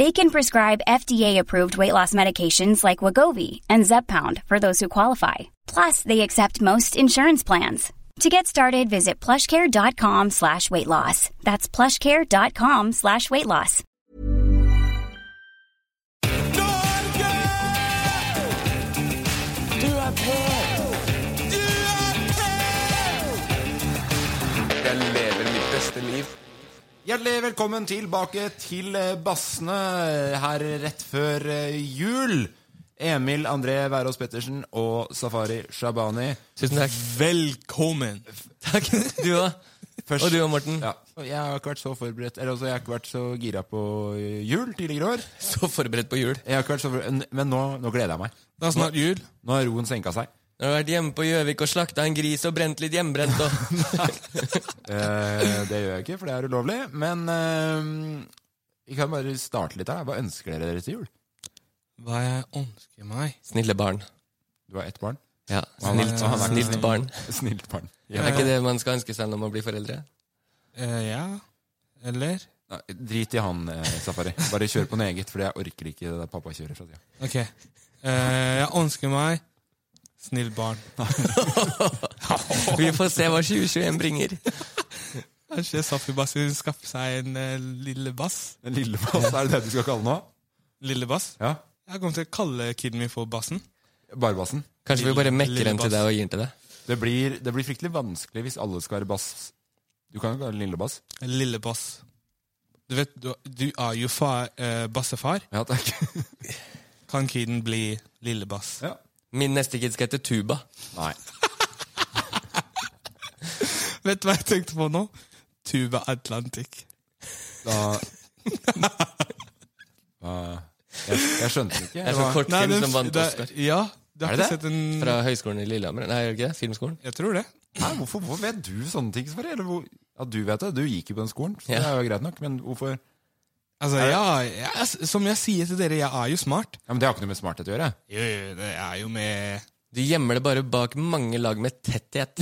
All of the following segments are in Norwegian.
They can prescribe FDA-approved weight loss medications like Wagovi and Zepbound for those who qualify. Plus, they accept most insurance plans. To get started, visit plushcare.com slash weight loss. That's plushcare.com slash weight loss. Norge! Du er på! Du er på! Jeg lever mitt beste liv. Hjertelig velkommen tilbake til eh, Bassene her rett før eh, jul. Emil André Wærås Pettersen og Safari Shabani. Tusen takk. Velkommen. Takk, Du òg. Først- Og du og Morten. Ja, jeg har ikke vært så forberedt Eller altså, jeg har ikke vært så gira på eh, jul tidligere år. Så forberedt på jul. Jeg har ikke vært så forberedt, men nå, nå gleder jeg meg. Det er snart jul. Nå har roen senka seg. Jeg har vært hjemme på Gjøvik og slakta en gris og brent litt hjemmebrent. Og... Eh, det gjør jeg ikke, for det er ulovlig. Men eh, vi kan bare starte litt her. da. Hva ønsker dere dere til jul? Hva jeg ønsker meg? Snille barn. Du har ett barn. Ja, Han er- snilt, han er ikke snilt snill. barn. Snilt barn. Er ikke det man skal ønske seg når man blir foreldre? Eh, ja. Eller? Nei, Drit i han, eh, Safari. Bare kjør på noe eget, for jeg orker ikke det der pappa kjører fra tida. Ok. Eh, jeg ønsker meg snill barn. Vi får se hva 2021 bringer. Kanskje Safi Bass vil skaffe seg en eh, lille bass. Lillebass, er det det du skal kalle nå? Lille bass. Ja. Jeg kommer til å kalle kiden min for Bassen. Barbassen. Kanskje vi bare mekker Lille en til bass. deg og gir den til deg? Det blir, det blir fryktelig vanskelig hvis alle skal være bass. Du kan jo kalle den Lillebass. Lille bass. Du vet, du, du er jo far, eh, bassefar. Ja, takk. Kan kiden bli lille bass? Ja. Min neste kid skal hete Tuba. Nei. Vet du hva jeg tenkte på nå? Tuba Atlantic. Da Hva- jeg, jeg skjønte ikke. Det er sånn Hva- Nei, kortfilm den- som vant det- Oscar. Ja, du har Er det ikke sett en Fra Høgskolen i Lillehammer. Nei, gjør det ikke det? Filmskolen? Jeg tror det. Hæ, hvorfor, hvorfor vet du sånne ting, Safari? Eller hvor, ja, du vet det. Du gikk jo på den skolen, så Ja. det er jo greit nok. Men hvorfor ja, Altså, ja, jeg, Som jeg sier til dere, jeg er jo smart. men Det har ikke noe med smarthet å gjøre. Jo, jo, det er jo med Du gjemmer det bare bak mange lag med tetthet.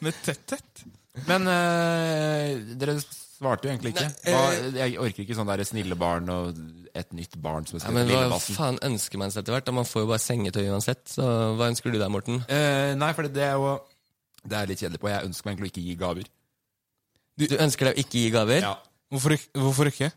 Med tetthet. Men eh, dere svarte jo egentlig ikke. Nei, Hva, eh, jeg orker ikke sånn der snille barn og et nytt barn som er Ja, snille men Hva lillebassen. faen ønsker man seg etter hvert? Da? Man får jo bare sengetøy uansett. Så hva ønsker du deg, Morten? Eh, nei, for det, det er jo Det er jeg litt kjedelig på. Jeg ønsker meg egentlig å ikke gi gaver. Du ønsker deg å ikke gi gaver? Ja. Hvorfor, ikk- hvorfor ikke?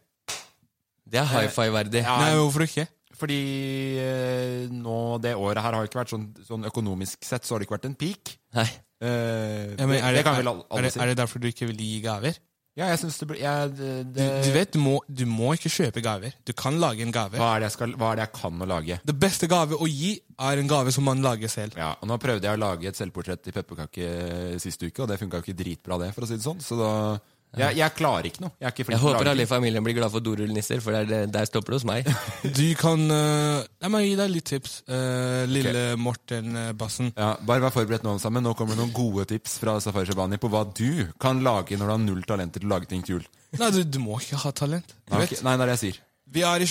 Det er high five-verdig. Ja. Nei, hvorfor ikke? Fordi eh, nå det året her har jo ikke vært sånn, sånn økonomisk sett så har det ikke vært en peak. Nei. Eh, Ja, men er, det, det, kan vel alle, er, alle det, si. er det derfor du ikke vil gi gaver? Ja, jeg syns det blir jeg, det, Du, du vet, du må, du må ikke kjøpe gaver. Du kan lage en gave. hva er, det jeg skal, hva er det jeg kan å lage? Det beste gave å gi er en gave som man lager selv. Ja, og Nå prøvde jeg å lage et selvportrett i pepperkake eh, sist uke, og det funka jo ikke dritbra, det. for å si det sånn. Så da, jeg, jeg klarer ikke noe. Jeg er ikke flink Jeg til å håper lage alle i familien blir glad for dorullnisser, for det er det, der stopper det hos meg. Du kan eh, La meg gi deg litt tips. eh, lille Morten eh, Bassen. Ja, bare vær forberedt nå, alle sammen. Nå kommer det noen gode tips fra Safari Shabani på hva du kan lage når du har null talenter til å lage ting til jul. Nei, du, du må ikke ha talent. Du Nei, vet. ok. Nei, det er det jeg sier. Vi er i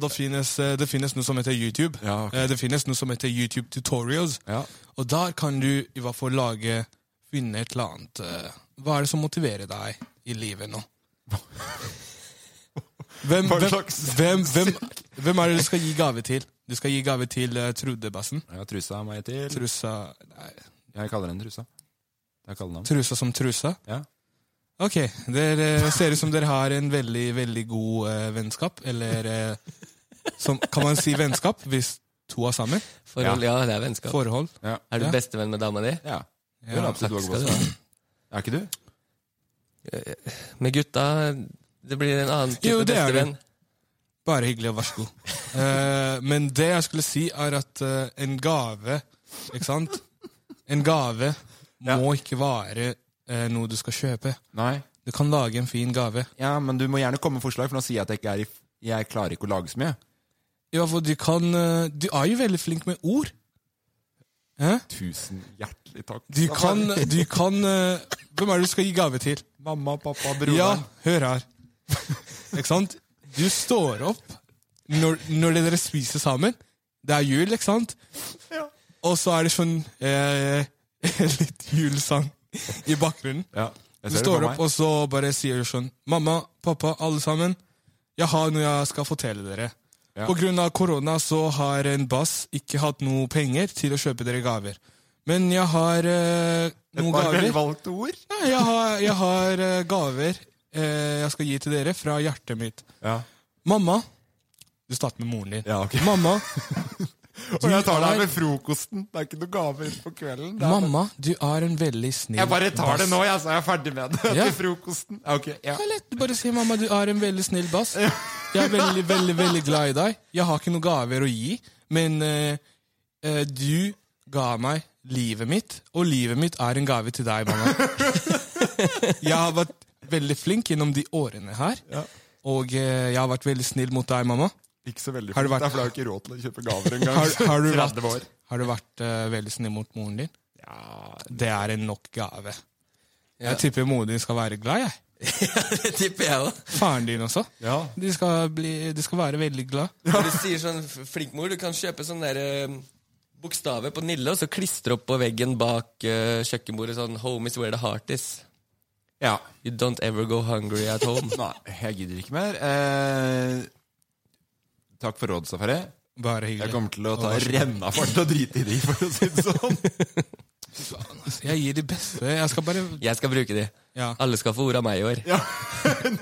2020. Det finnes, eh, det finnes noe som heter YouTube. Ja, ok. Eh, Det finnes noe som heter YouTube Tutorials. Ja. Og der kan du i hvert fall lage Finne et eller annet eh, Hva er det som motiverer deg i livet nå? Hvem, Hva hvem, slags- hvem, hvem, hvem er det du skal gi gave til? Du skal gi gave til eh, Trude-bassen. Ja, trusa er meg til. Trusa nei, Jeg kaller henne trusa. Det er kallenavn. Trusa som trusa? Ja. Ok, dere ser ut som dere har en veldig, veldig god eh, vennskap. Eller eh, som, kan man si vennskap hvis to er sammen? Forhold, ja. det er vennskap. Forhold? Ja. Er du Ja. bestevenn med dama di? ja. Det Ja, er absolutt takk våge skal du på seg. Er ikke du? Med gutta det blir en annen type Jo, det er bestevenn. Bare hyggelig, og vær så god. Eh, men det jeg skulle si, er at eh, en gave Ikke sant? En gave Ja. må ikke være eh, noe du skal kjøpe. Nei. Du kan lage en fin gave. Ja, men du må gjerne komme med forslag, for nå sier jeg at jeg ikke er i Jeg klarer ikke å lage så mye. Ja, for du kan eh, Du er jo veldig flink med ord. Hæ? Tusen hjertelig takk. Du kan, du kan eh, Hvem er det du skal gi gave til? Mamma, pappa, Ja, broderen. hør her. Ikke sant? Du står opp når, når dere spiser sammen. Det er jul, ikke sant? Og så er det sånn eh, litt julesang i bakgrunnen. Ja. Jeg Du ser det står på opp, meg. og så bare sier du sånn Mamma, pappa, alle sammen. Jeg har noe jeg skal fortelle dere. Ja. På grunn av korona så har en bass ikke hatt noe penger til å kjøpe dere gaver. Men jeg har eh, noen Var gaver. velvalgte ord. Ja, jeg har, jeg har eh, gaver eh, jeg skal gi til dere fra hjertet mitt. Ja. Mamma Du starter med moren din. Ja, ok. Mamma, Og jeg tar er- deg med frokosten. Det er ikke noe gave ut på kvelden. Det er- mamma, du er en veldig snill Jeg bare tar det bass. nå, jeg, så er jeg ferdig med det. Ja. Til frokosten. Ja, Ok, ja. Det er lett. Du bare sier 'mamma, du er en veldig snill bass'. Jeg er veldig, veldig veldig glad i deg. Jeg har ikke noen gaver å gi, men eh, eh, du ga meg livet mitt, og livet mitt er en gave til deg, mamma. Jeg har vært veldig flink gjennom de årene her, og eh, jeg har vært veldig snill mot deg, mamma. Ikke så veldig Har du fint, vært- da, for jeg har ikke råd til å kjøpe gaver engang. Har, har du 30 år. vært, har du vært eh, veldig snill mot moren din? Ja, Det er en nok gave. Jeg tipper moren din skal være glad, jeg. Det tipper jeg òg. Faren din også. Ja. De, skal bli, de skal være veldig glad. Når du sier sånn f- flink mor, du kan kjøpe sånn der eh, bokstaver på Nille, og så klistre opp på veggen bak eh, kjøkkenbordet sånn 'Home is where the heart is'. ja. You don't ever go hungry at home. Nei, jeg gidder ikke mer. Eh, takk for råd, Safari. Bare Jeg hyggelig. kommer til å ta Og vær så god. renna fart og drite i de, for å si det sånn. altså. Jeg gir de beste. Jeg skal bare Jeg skal bruke de. Ja. Alle skal få ord av meg i år. Ja,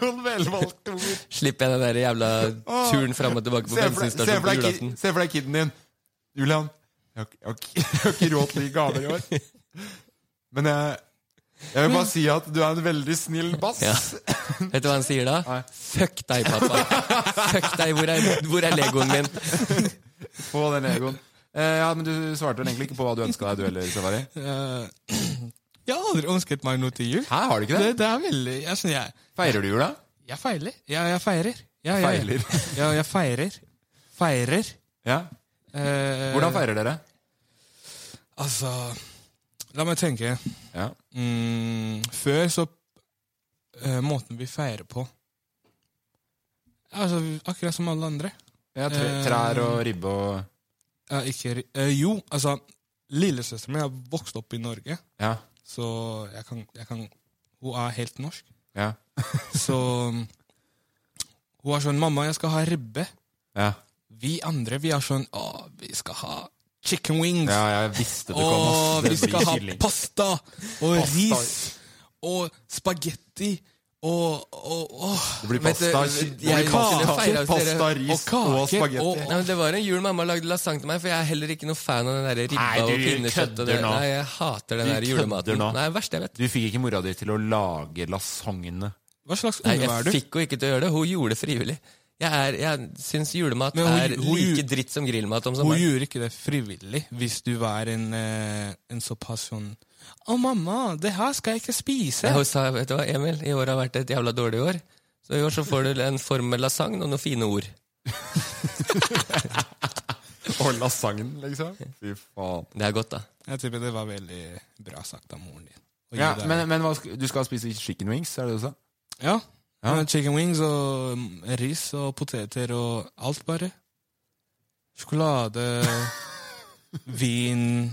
Noen velvalgte ord. Slipper jeg den der jævla turen fram og tilbake på Se for deg- se bensinstasjonen for på deg julaften. ki- se for deg kiden din. Julian, jeg har ikke- jeg har ikke- jeg har ikke råd til å gi gaver i år. Men jeg, jeg vil bare si at du er en veldig snill bass. Ja. Vet du hva han sier da? Fuck deg, pappa. Fuck deg, hvor er, hvor er legoen min? På den egoen. Eh, ja, men du svarte vel egentlig ikke på hva du ønska deg, du heller, Safari. eh, Jeg har aldri ønsket meg noe til jul. Hæ, har du ikke Det, det? det er veldig Jeg, sånn, jeg, Feirer du jul, da? jeg feiler. Ja, jeg feirer. Ja, jeg, Feiler. Ja, jeg feirer. Feirer. Ja. Eh, Hvordan feirer dere? Altså La meg tenke. Ja. Mm, før så eh, Måten vi feirer på Altså, akkurat som alle andre. ja tre, Eh, trær og ribbe og Eh, ikke ri- eh, Jo, altså Lillesøsteren min har vokst opp i Norge, Ja. så jeg kan, jeg kan Hun er helt norsk. Ja. Så um, hun er sånn 'Mamma, jeg skal ha ribbe'. ja. Vi andre vi er sånn 'Å, vi skal ha chicken wings'. ja jeg visste det kom, ass. Og Det vi skal blir ha kylling. pasta og ris og spagetti og, og, og, Det blir Vet du, pasta, jeg- det blir jeg- pasta, jeg- jeg- pasta, jeg- ris og og, kake, spagetti. Nei, men det var en jul mamma lagde lasagne til meg, for jeg er heller ikke noe fan av den der ribba Nei, du og pinnekjøtt. Og kødder det. nå. Nei, jeg hater den Du der kødder julematen. nå. Nei, det verste jeg vet. Du fikk ikke mora di til å lage lasagne. Hva slags Nei, unge er jeg du? fikk jo ikke til å gjøre det. Hun gjorde det frivillig. Jeg, er, jeg syns julemat Men hun- er hun- like dritt som grillmat om Hun sommeren. gjorde ikke det frivillig hvis du var en, eh, en såpass sånn 'Å, mamma, det her skal jeg ikke spise'. Nei, Hun sa vet du hva, Emil, i år har vært et jævla dårlig år, så i år så får du en form med lasagne og noen fine ord. Og lasagne, liksom. Fy faen. Det er godt, da. Jeg tipper det var veldig bra sagt av moren din. Å gi Ja, deg- men, men hva, sk- du skal spise chicken wings, er det det du sa? ja. Ja. Eh, Chicken wings og mm, ris og poteter og alt, bare. Sjokolade, vin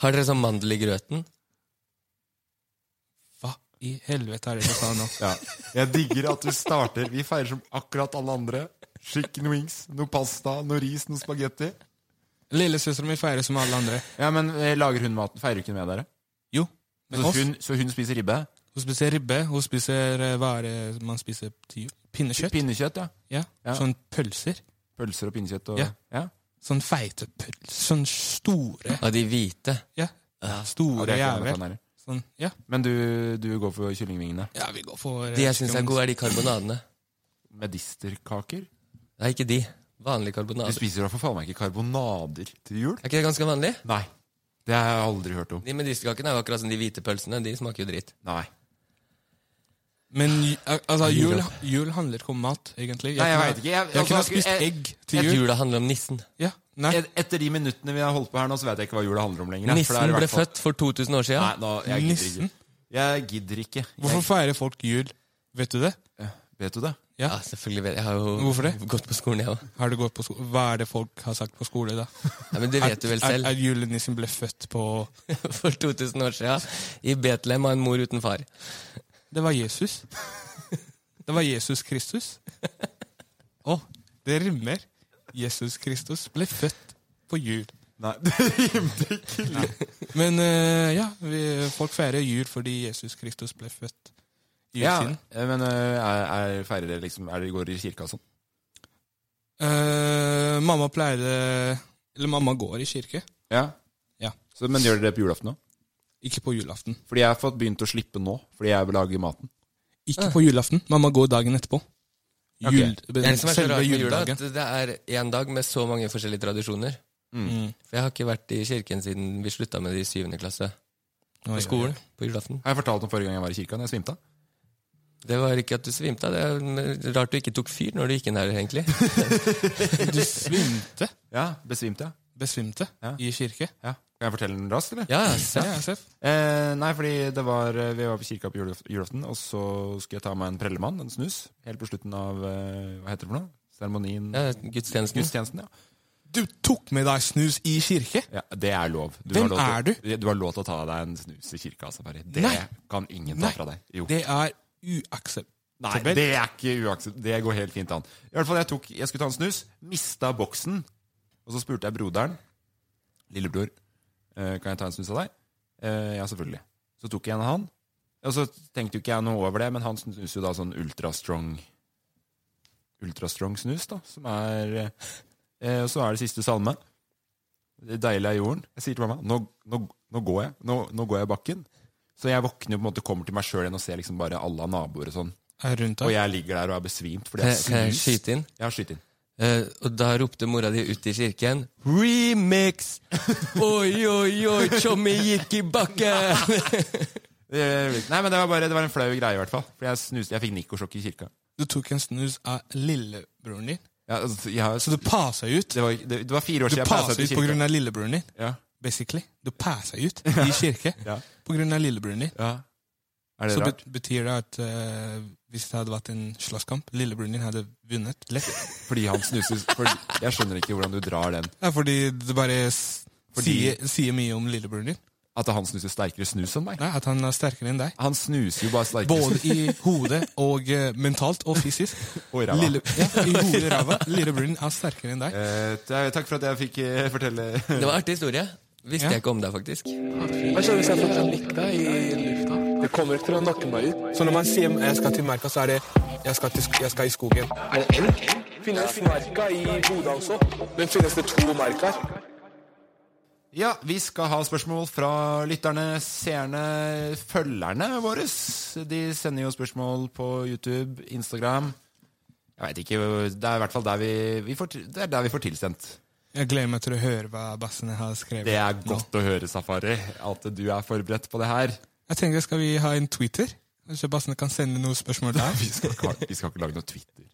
Har dere sånn mandel i grøten? Hva? i helvete er det du sa nå? Ja. Jeg digger at du starter Vi feirer som akkurat alle andre. Chicken wings, noe pasta, noe ris, noe spagetti. Lillesøsteren min feirer som alle andre. Ja, men eh, lager hun maten? Feirer hun ikke med dere? Jo. Men Så oss, hun, hun, så hun spiser ribbe? spiser ribbe. Hun spiser eh, hva er det man spiser til jul? Pinnekjøtt. Pinnekjøtt, ja. ja. Ja. Sånn pølser. Pølser og pinnekjøtt og Ja. ja. Sånn feite pølser. Sånn store Av de hvite. Ja. Ja, Store det er ikke jævel. amerikaner. Sånn, ja. Men du, du går for kyllingvingene. ja, vi går for eh, De jeg syns er gode, er de karbonadene. Medisterkaker? Nei, ikke de. Vanlige Du karbonader. spiser da for faen meg ikke karbonader til jul? Er ikke det ganske vanlig? Nei. Det har jeg aldri hørt om. De medisterkakene er jo akkurat som de hvite pølsene. De smaker jo dritt. Nei. Men ju- al- altså, jul, jul handler ikke om mat, egentlig. Nei, jeg kunne- vet ikke. Jeg- jeg kunne ha altså, spist jeg- egg til At jul. jula handler om nissen. Ja, nei. Et, etter de minuttene vi har holdt på her nå, så vet jeg ikke hva jula handler om lenger. for det er i Nissen hvert ble fall- født for 2000 Nei, år siden. nå, jeg gidder Nissen? ikke. Jeg gidder ikke. Hvorfor feirer folk jul? Vet du det? Jeg, vet du det? Ja. Ja, selvfølgelig. vet Jeg Jeg har jo Hvorfor det? gått på skolen, jeg òg. Har du gått på sko Hva er det folk har sagt på skole, da? Ja, men det vet du vel At- selv. At, at julenissen ble født på For 2000 år siden. I Betlehem av en mor uten far. Det var Jesus. Det var Jesus Kristus. Å, det rimmer. Jesus Kristus ble født på jul. Nei, det rimte ikke. Men eh, ja, vi, folk feirer jul fordi Jesus Kristus ble født i Ja, julesiden. men øh, er, er feirer dere liksom Er dere går i kirka og sånn? Eh, mamma pleide Eller mamma går i kirke. Ja. Ja. Så, men gjør dere det på julaften òg? Ikke på julaften. Fordi jeg har fått begynt å slippe nå, fordi jeg lager maten. Ikke på julaften. Mamma går dagen etterpå. Ok. Jul, Det er det Eh. som er så selve rart med jula, juledagen. at det er én dag med så mange forskjellige tradisjoner. Mm. For jeg har ikke vært i kirken siden vi slutta med det i syvende klasse. På Oi, oi, oi. skolen, på julaften. Har jeg fortalt om forrige gang jeg var i kirka, når jeg svimte av? Det var ikke at du svimte av. Det er rart du ikke tok fyr når du gikk inn her, egentlig. Du svimte. Ja, besvimte jeg. Besvimte Ja. i kirke. Ja. Kan jeg fortelle den raskt, eller? Ja, se. Ja, Seff. Eh, nei, fordi det var, eh, vi var på kirka på julaf- julaften, og så skulle jeg ta meg en prellemann, en snus, helt på slutten av eh, Hva heter det for noe? Seremonien? Ja, Gudstjenesten. Gudstjenesten, ja. Du tok med deg snus i kirke? Ja, Det er lov. Du Hvem har lov til, er Du har lov til å ta deg en snus i kirka. Altså, bare. Det Nei. kan ingen ta Nei, fra deg. Jo. det er uakseptabelt. Nei, det er ikke uakseptabelt. Det går helt fint an. I hvert fall, jeg, tok, jeg skulle ta en snus, mista boksen, og så spurte jeg broderen, lillebror, eh, kan jeg ta en snus av deg? Eh, Ja, selvfølgelig. Så tok jeg en av han, og så tenkte jo ikke jeg noe over det, men han snuser jo da sånn ultra-strong ultra-strong snus, da, som er eh, Og så er det siste salme. Det deilige er jorden. Jeg sier til mamma nå, nå, nå går jeg. Nå, nå går jeg bakken. Så jeg våkner jo på en måte kommer til meg sjøl igjen og ser liksom bare alle av naboer og sånn. Er rundt Og deg. jeg ligger der og er besvimt fordi Kan jeg jeg- kan jeg snus. skyte inn? Ja, skyt inn. Eh, og da ropte mora di ut i kirken Remix! Oi, oi, oi, Tjommi gikk i bakken! Eh, Nei, men det var bare Det var en flau greie, i hvert fall. For jeg snuste Jeg fikk nikosjokk i kirka. Du tok en snus av lillebroren din. Ja, altså, jeg, Så du passa ut. det, var, det, det var fire år Du siden jeg passa passet ut i på kirka. grunn av lillebroren din. Ja. Basically. Du passa ut i kirke Ja. på grunn av lillebroren din. ja. Er det Så rart? bet betyr det at eh, hvis det hadde vært en slåsskamp, lillebroren din hadde vunnet lett? Fordi han snuser fordi, Jeg skjønner ikke hvordan du drar den. Ja, fordi det bare s- Fordi- sier, sier mye om lillebroren din. At han snuser sterkere snus enn meg. Nei, At han er sterkere enn deg. Han snuser jo bare sterkere Både i hodet og eh, mentalt og fysisk. Og i ræva. Lille, ja, I hodet og ræva. Lillebroren er sterkere enn deg. Eh, t- takk for at jeg fikk eh, fortelle Det var en artig historie. Visste Ja. jeg ikke om deg, faktisk. Hva skjer hvis jeg får sånn lykta i lufta? Det kommer ikke til å nakke meg ut. Så når man sier jeg skal til merka, så er det jeg skal, i skogen. Er det elg? Finnes merka i Bodø også? Men finnes det to merker? Ja, vi skal ha spørsmål fra lytterne, seerne, følgerne våre. De sender jo spørsmål på YouTube, Instagram Jeg veit ikke Det er i hvert fall der vi, vi får, til- det er der vi får tilsendt. Jeg gleder meg til å høre hva bassene har skrevet. Det er godt å høre, Safari, at du er forberedt på det her. Jeg tenker, Skal vi ha en Twitter? Kanskje bassene kan sende noen spørsmål der? Vi skal ikke, ha- vi skal ikke lage noe Twitter.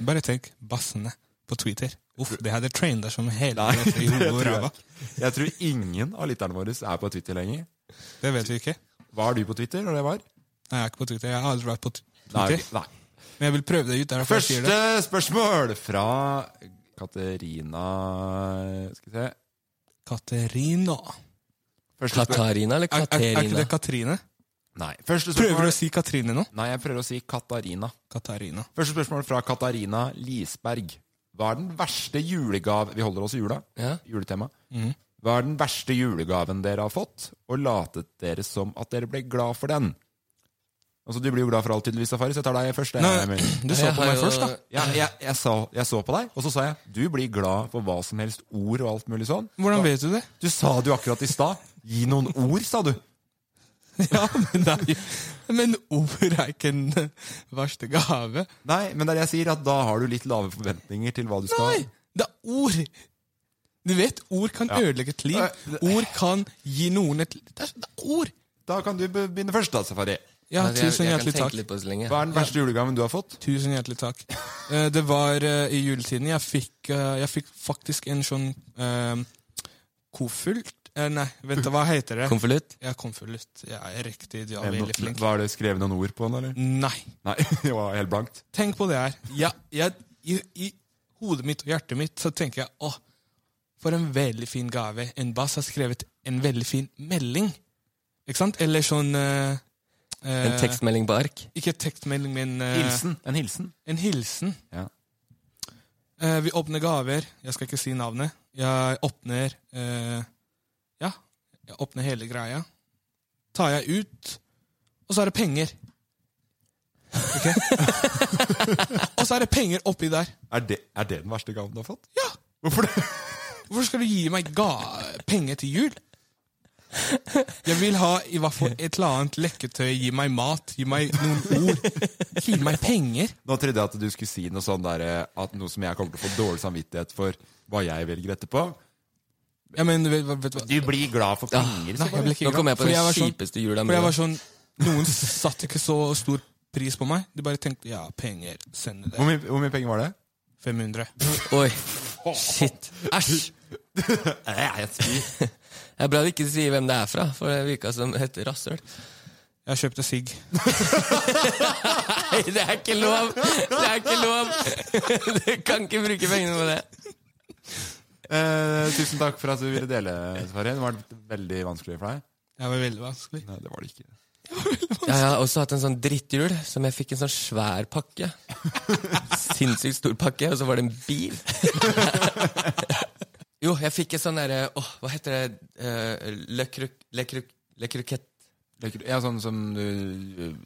Bare tenk bassene på Twitter. Uff, det hadde trained deg som helvete i hodet og ræva. Jeg tror ingen av lytterne våre er på Twitter lenger. Det vet vi ikke. Var du på Twitter når det var? Nei, jeg er ikke på Twitter. Jeg har aldri vært på t- Nei, Twitter. ok, nei. Men jeg vil prøve det ut. derfor jeg sier Første det. spørsmål fra Katerina Skal vi se Katerina. Første spørsmål. Katarina eller Er, er, er ikke Katerina? det Katrine? Nei. Første Prøver du spørsmål å si Katrine nå? Nei, jeg prøver å si Katarina. Katarina. Første spørsmål fra Katarina Lisberg. Hva er den verste julegave Vi holder oss i jula. Ja. Juletema. Mhm. Hva er den verste julegaven dere har fått, og latet dere som at dere ble glad for den? Altså, Du blir jo glad for alt, tydeligvis, Safari, så jeg tar deg først. det, Nei. Emil. Du så Jeg på har meg jo- først, da. Ja, jeg, jeg, sa, jeg så på deg, og så sa jeg du blir glad for hva som helst ord og alt mulig sånn. Hvordan vet du det? Du sa det jo akkurat i stad. Gi noen ord, sa du. Ja, men, nei. men ord er ikke den verste gave. Nei, men det er det jeg sier, at da har du litt lave forventninger til hva du skal Nei, det er ord! Du vet, ord kan ødelegge et liv. Ord kan gi noen et Det er, det er ord! Da kan du be- begynne først, da, Safari. Ja, Altså, jeg, tusen jeg hjertelig kan tenke takk. litt på det så lenge. Hva er den verste julegaven du har fått? Tusen hjertelig takk. Eh, Det var eh, i juletiden. Jeg fikk, eh, jeg fikk faktisk en sånn eh, koffert Eh, Nei, vent, hva heter det? Konvolutt? Ja, konvolutt. Jeg er riktig, du er veldig flink. Mm. Var det skrevet noen ord på den, eller? Nei. Nei, det var helt blankt. Tenk på det her. Jeg, jeg, i, I hodet mitt og hjertet mitt så tenker jeg åh, for en veldig fin gave. En bass har skrevet en veldig fin melding. Ikke sant? Eller sånn eh, En eh, tekstmelding på ark? Ikke tekstmelding, men eh, Hilsen. En hilsen. en hilsen. Ja. Eh, vi åpner gaver. Jeg skal ikke si navnet. Jeg åpner eh, Ja, jeg åpner hele greia. Tar jeg ut, og så er det penger. Ok? og så er det penger oppi der. Er det, er det den verste gaven du har fått? Ja! Hvorfor det? Hvorfor skal du gi meg ga penger til jul? Jeg vil ha i hvert fall et eller annet lekketøy. Gi meg mat. Gi meg noen ord. Gi meg penger. Nå trodde jeg at du skulle si noe sånn der, eh, at noe som jeg kommer til å få dårlig samvittighet for hva jeg velger etterpå. Ja, men vet, vet, vet, Du blir glad for penger. Nei, jeg ble ikke Nå kom jeg på glad, for den jeg var sånn- kjipeste jula For jeg var sånn, Noen satte ikke så stor pris på meg. De bare tenkte ja, penger, send Hvor det. mye, hvor mye penger var det? 500. Oi. Shit. Æsj. Det er bra du ikke sier hvem det er fra, for det virka som et rasshøl. Jeg kjøpte sigg. Nei, det er ikke lov! Det er ikke lov! Du kan ikke bruke pengene på det. Eh, tusen takk for at du ville dele, Sverre. Det var veldig vanskelig for deg. Det var veldig vanskelig. Nei, det var det ikke. Ja, jeg har også hatt en sånn drittjul som jeg fikk en sånn svær pakke. Sinnssykt stor pakke, og så var det en bil. Jo, jeg fikk et sånn derre Åh, hva heter det? Eh, Le Croc... Le Croc... Le Croquette. Lekk- Ja, sånn som du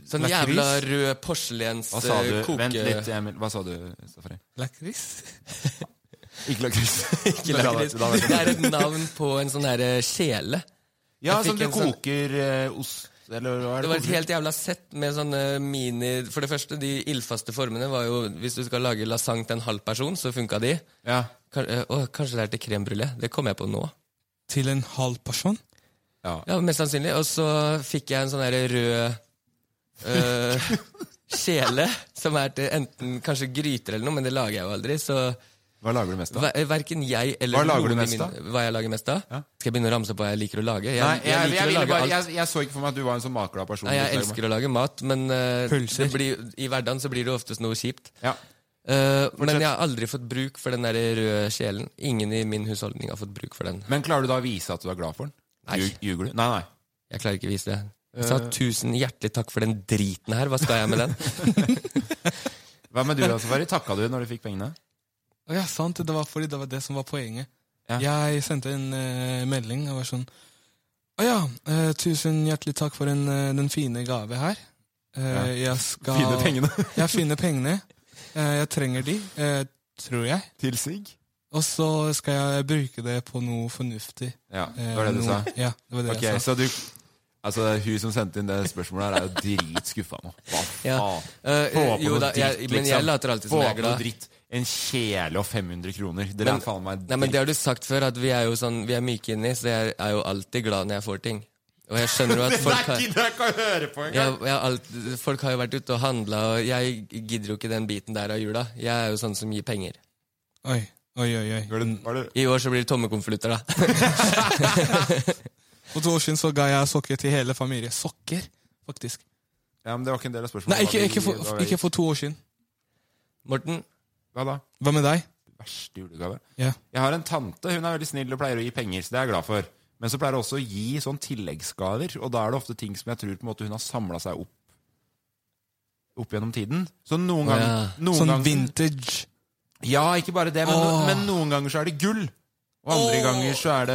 Sånn Lakris? jævla rød porselens Hva sa du? eh, koke... Vent litt, Emil. Hva sa du, Safari? Lakris? Ikke lakris. Ikke lakris. Det er et navn på en sånn her eh, kjele. Ja, Jeg som fikk du en sånn- koker eh, ost Eller hva er Det det? var et koker? helt jævla sett med sånne mini... For det første, de ildfaste formene var jo Hvis du skal lage lasagne til en halv person, så funka de. Ja. Kan, eh, å, kanskje det er til crème brulé. Det kom jeg på nå. Til en halv person? Ja, Mest sannsynlig. Og så fikk jeg en sånn her rød uh, kjele, som er til enten kanskje gryter eller noe, men det lager jeg jo aldri. Så Hva lager du mest av? hver, verken jeg eller Hva lager du noen mest i mine- Hva jeg lager mest av? Ja. Skal jeg begynne å ramse opp hva jeg liker å lage? Jeg, Nei, jeg, jeg, liker å ville lage bare, alt. jeg, jeg så ikke for meg at du var en sånn makeglad person. Nei, jeg elsker å lage mat, men eh, Pølser. det blir, i hverdagen så blir det oftest noe kjipt. Ja. Eh, men jeg har aldri fått bruk for den der røde kjelen. Ingen i min husholdning har fått bruk for den. Men klarer du da å vise at du er glad for den? Nei. Ljug- Ljuger du? Nei, nei. Jeg klarer ikke å vise det. Eh. Jeg sa tusen hjertelig takk for den driten her, hva skal jeg med den? Hva med du, da, Safari? Takka du når du fikk pengene? Å ja, sant. Det var fordi det var det som var poenget. Ja. Jeg sendte en eh, melding og var sånn Å ja, eh, tusen hjertelig takk for den, eh, den fine gave her. Eh, Jeg skal Finne pengene Jeg finner pengene. Eh, Jeg trenger de, eh, tror jeg. til sigg? Og så skal jeg bruke det på noe fornuftig. Ja, det Eh, var det du sa. noe- Ja, det var det Ok, jeg sa. så du Altså, Hun som sendte inn det spørsmålet, her er jo dritskuffa nå. Hva faen? Ja. Eh, Få på jo noe da, jeg- dritt, men jeg liksom. later alltid som Få jeg er på noe glad. dritt. En kjele og 500 kroner. Dere Men- er faen meg Nei, men Det har du sagt før, at vi er jo sånn, vi er myke inni, så jeg er jo alltid glad når jeg får ting. Og jeg skjønner jo at folk har, det jeg kan høre på jeg, jeg har alt, folk har jo vært ute og handla, og jeg gidder jo ikke den biten der av jula. Jeg er jo sånn som gir penger. Oi, oi, oi. oi. Var det, var det, I år så blir det tomme konvolutter, da. For to år siden så ga jeg sokker til hele familien. Sokker, faktisk. ja, men det var ikke en del av spørsmålet. Nei, ikke, Hva ikke, vi- hva for, vi- ikke for to år siden. Morten, Hva da? Hva med deg? Verste julegave? Ja. Jeg har en tante. Hun er veldig snill og pleier å gi penger, så det er jeg glad for. Men så pleier det også å gi sånn tilleggsgaver, og da er det ofte ting som jeg tror på en måte hun har samla seg opp opp gjennom tiden. Så noen ganger Ja. noen Sånn ganger- vintage. Ja, ikke bare det, men, Åh. men noen ganger så er det gull. Og andre Åh. ganger så er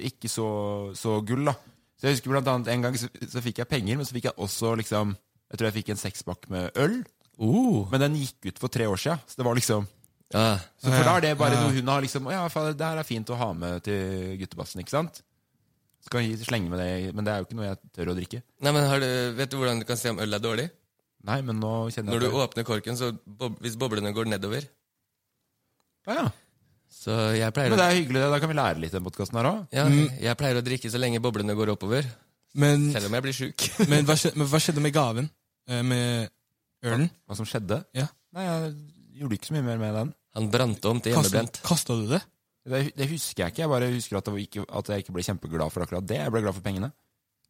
det ikke så, så gull, da. Så jeg husker blant annet en gang så, så fikk jeg penger, men så fikk jeg også liksom Jeg tror jeg fikk en sekspakk med øl, Uh. men den gikk ut for tre år sia. Så det var liksom Ja. så For da er det bare noe hun har liksom «Å Ja, faen, det her er fint å ha med til guttebassen, ikke sant? Så kan jeg slenge med det, men det er jo ikke noe jeg tør å drikke. Nei, men har du, Vet du hvordan du kan se om øl er dårlig? Nei, men nå kjenner Når jeg du åpner korken, så bob hvis boblene går nedover ja, ja. Så jeg pleier, Men det å, er Mm. hyggelig, det. Da kan vi lære litt i den podkasten her òg. ja, jeg pleier å drikke så lenge boblene går oppover. Men, Selv om jeg blir sjuk. men, hva skjedde, men hva skjedde med gaven? Eh, Med ølen? Hva som skjedde. Ja. Nei, jeg gjorde ikke så mye mer med den. Han brant om til hjemmebrent. Kasta du det? Det, det husker jeg ikke. Jeg bare husker at, det var ikke, at jeg ikke ble kjempeglad for akkurat det. Jeg ble glad for pengene.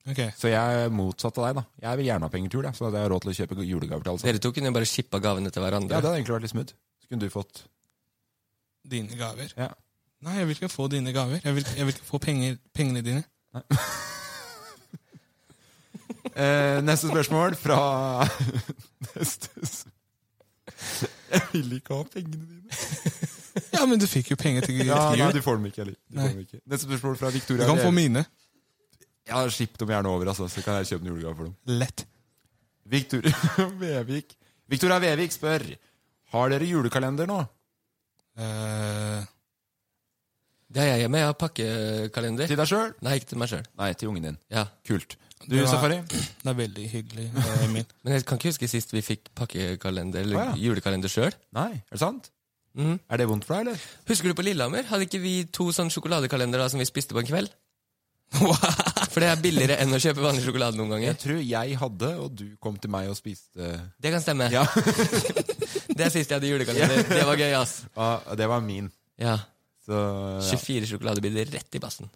Ok. Så jeg er motsatt av deg, da. Jeg vil gjerne ha penger tur, jeg, sånn at jeg har råd til å kjøpe julegaver til alle sammen. Dere to kunne jo bare shippa gavene til Ja, det hverandre. hadde egentlig vært litt smooth. Så kunne du fått Dine gaver. Ja. Nei, jeg vil ikke få dine gaver. Jeg vil, jeg vil ikke få penger, pengene dine. Eh, neste spørsmål fra Neste s- Jeg vil ikke ha pengene dine. Ja, men du fikk jo penger til Ja, til nei, jul. du får dem ikke heller. Du Nei. får dem ikke. Neste spørsmål fra Du Victoria. kan få Leve- mine. Ja, Skipp dem gjerne over, altså, så kan jeg kjøpe en julegave for dem. Lett. Victoria Vevik Victoria Vevik spør Har dere julekalender nå. Eh, Det har jeg hjemme. Jeg har pakkekalender. Til deg sjøl? Nei, ikke til meg sjøl. Nei, til ungen din. Ja. Kult. Du, Det var- Safari? det er veldig hyggelig, eh, Emil. Men jeg kan ikke huske sist vi fikk pakkekalender, eller Å, ja. julekalender sjøl. Nei, er det sant? Mhm. Er det vondt for deg, eller? Husker du på Lillehammer? Hadde ikke vi to sånne sjokoladekalendere da, som vi spiste på en kveld? For det er billigere enn å kjøpe vanlig sjokolade noen Jeg ganger. tror jeg hadde, og du kom til meg og spiste Det kan stemme. Ja. Det er sist jeg hadde julekalender. Det var gøy, ass. Ah, det var min. Ja. Så ja. 24 sjokoladebiter rett i bassen.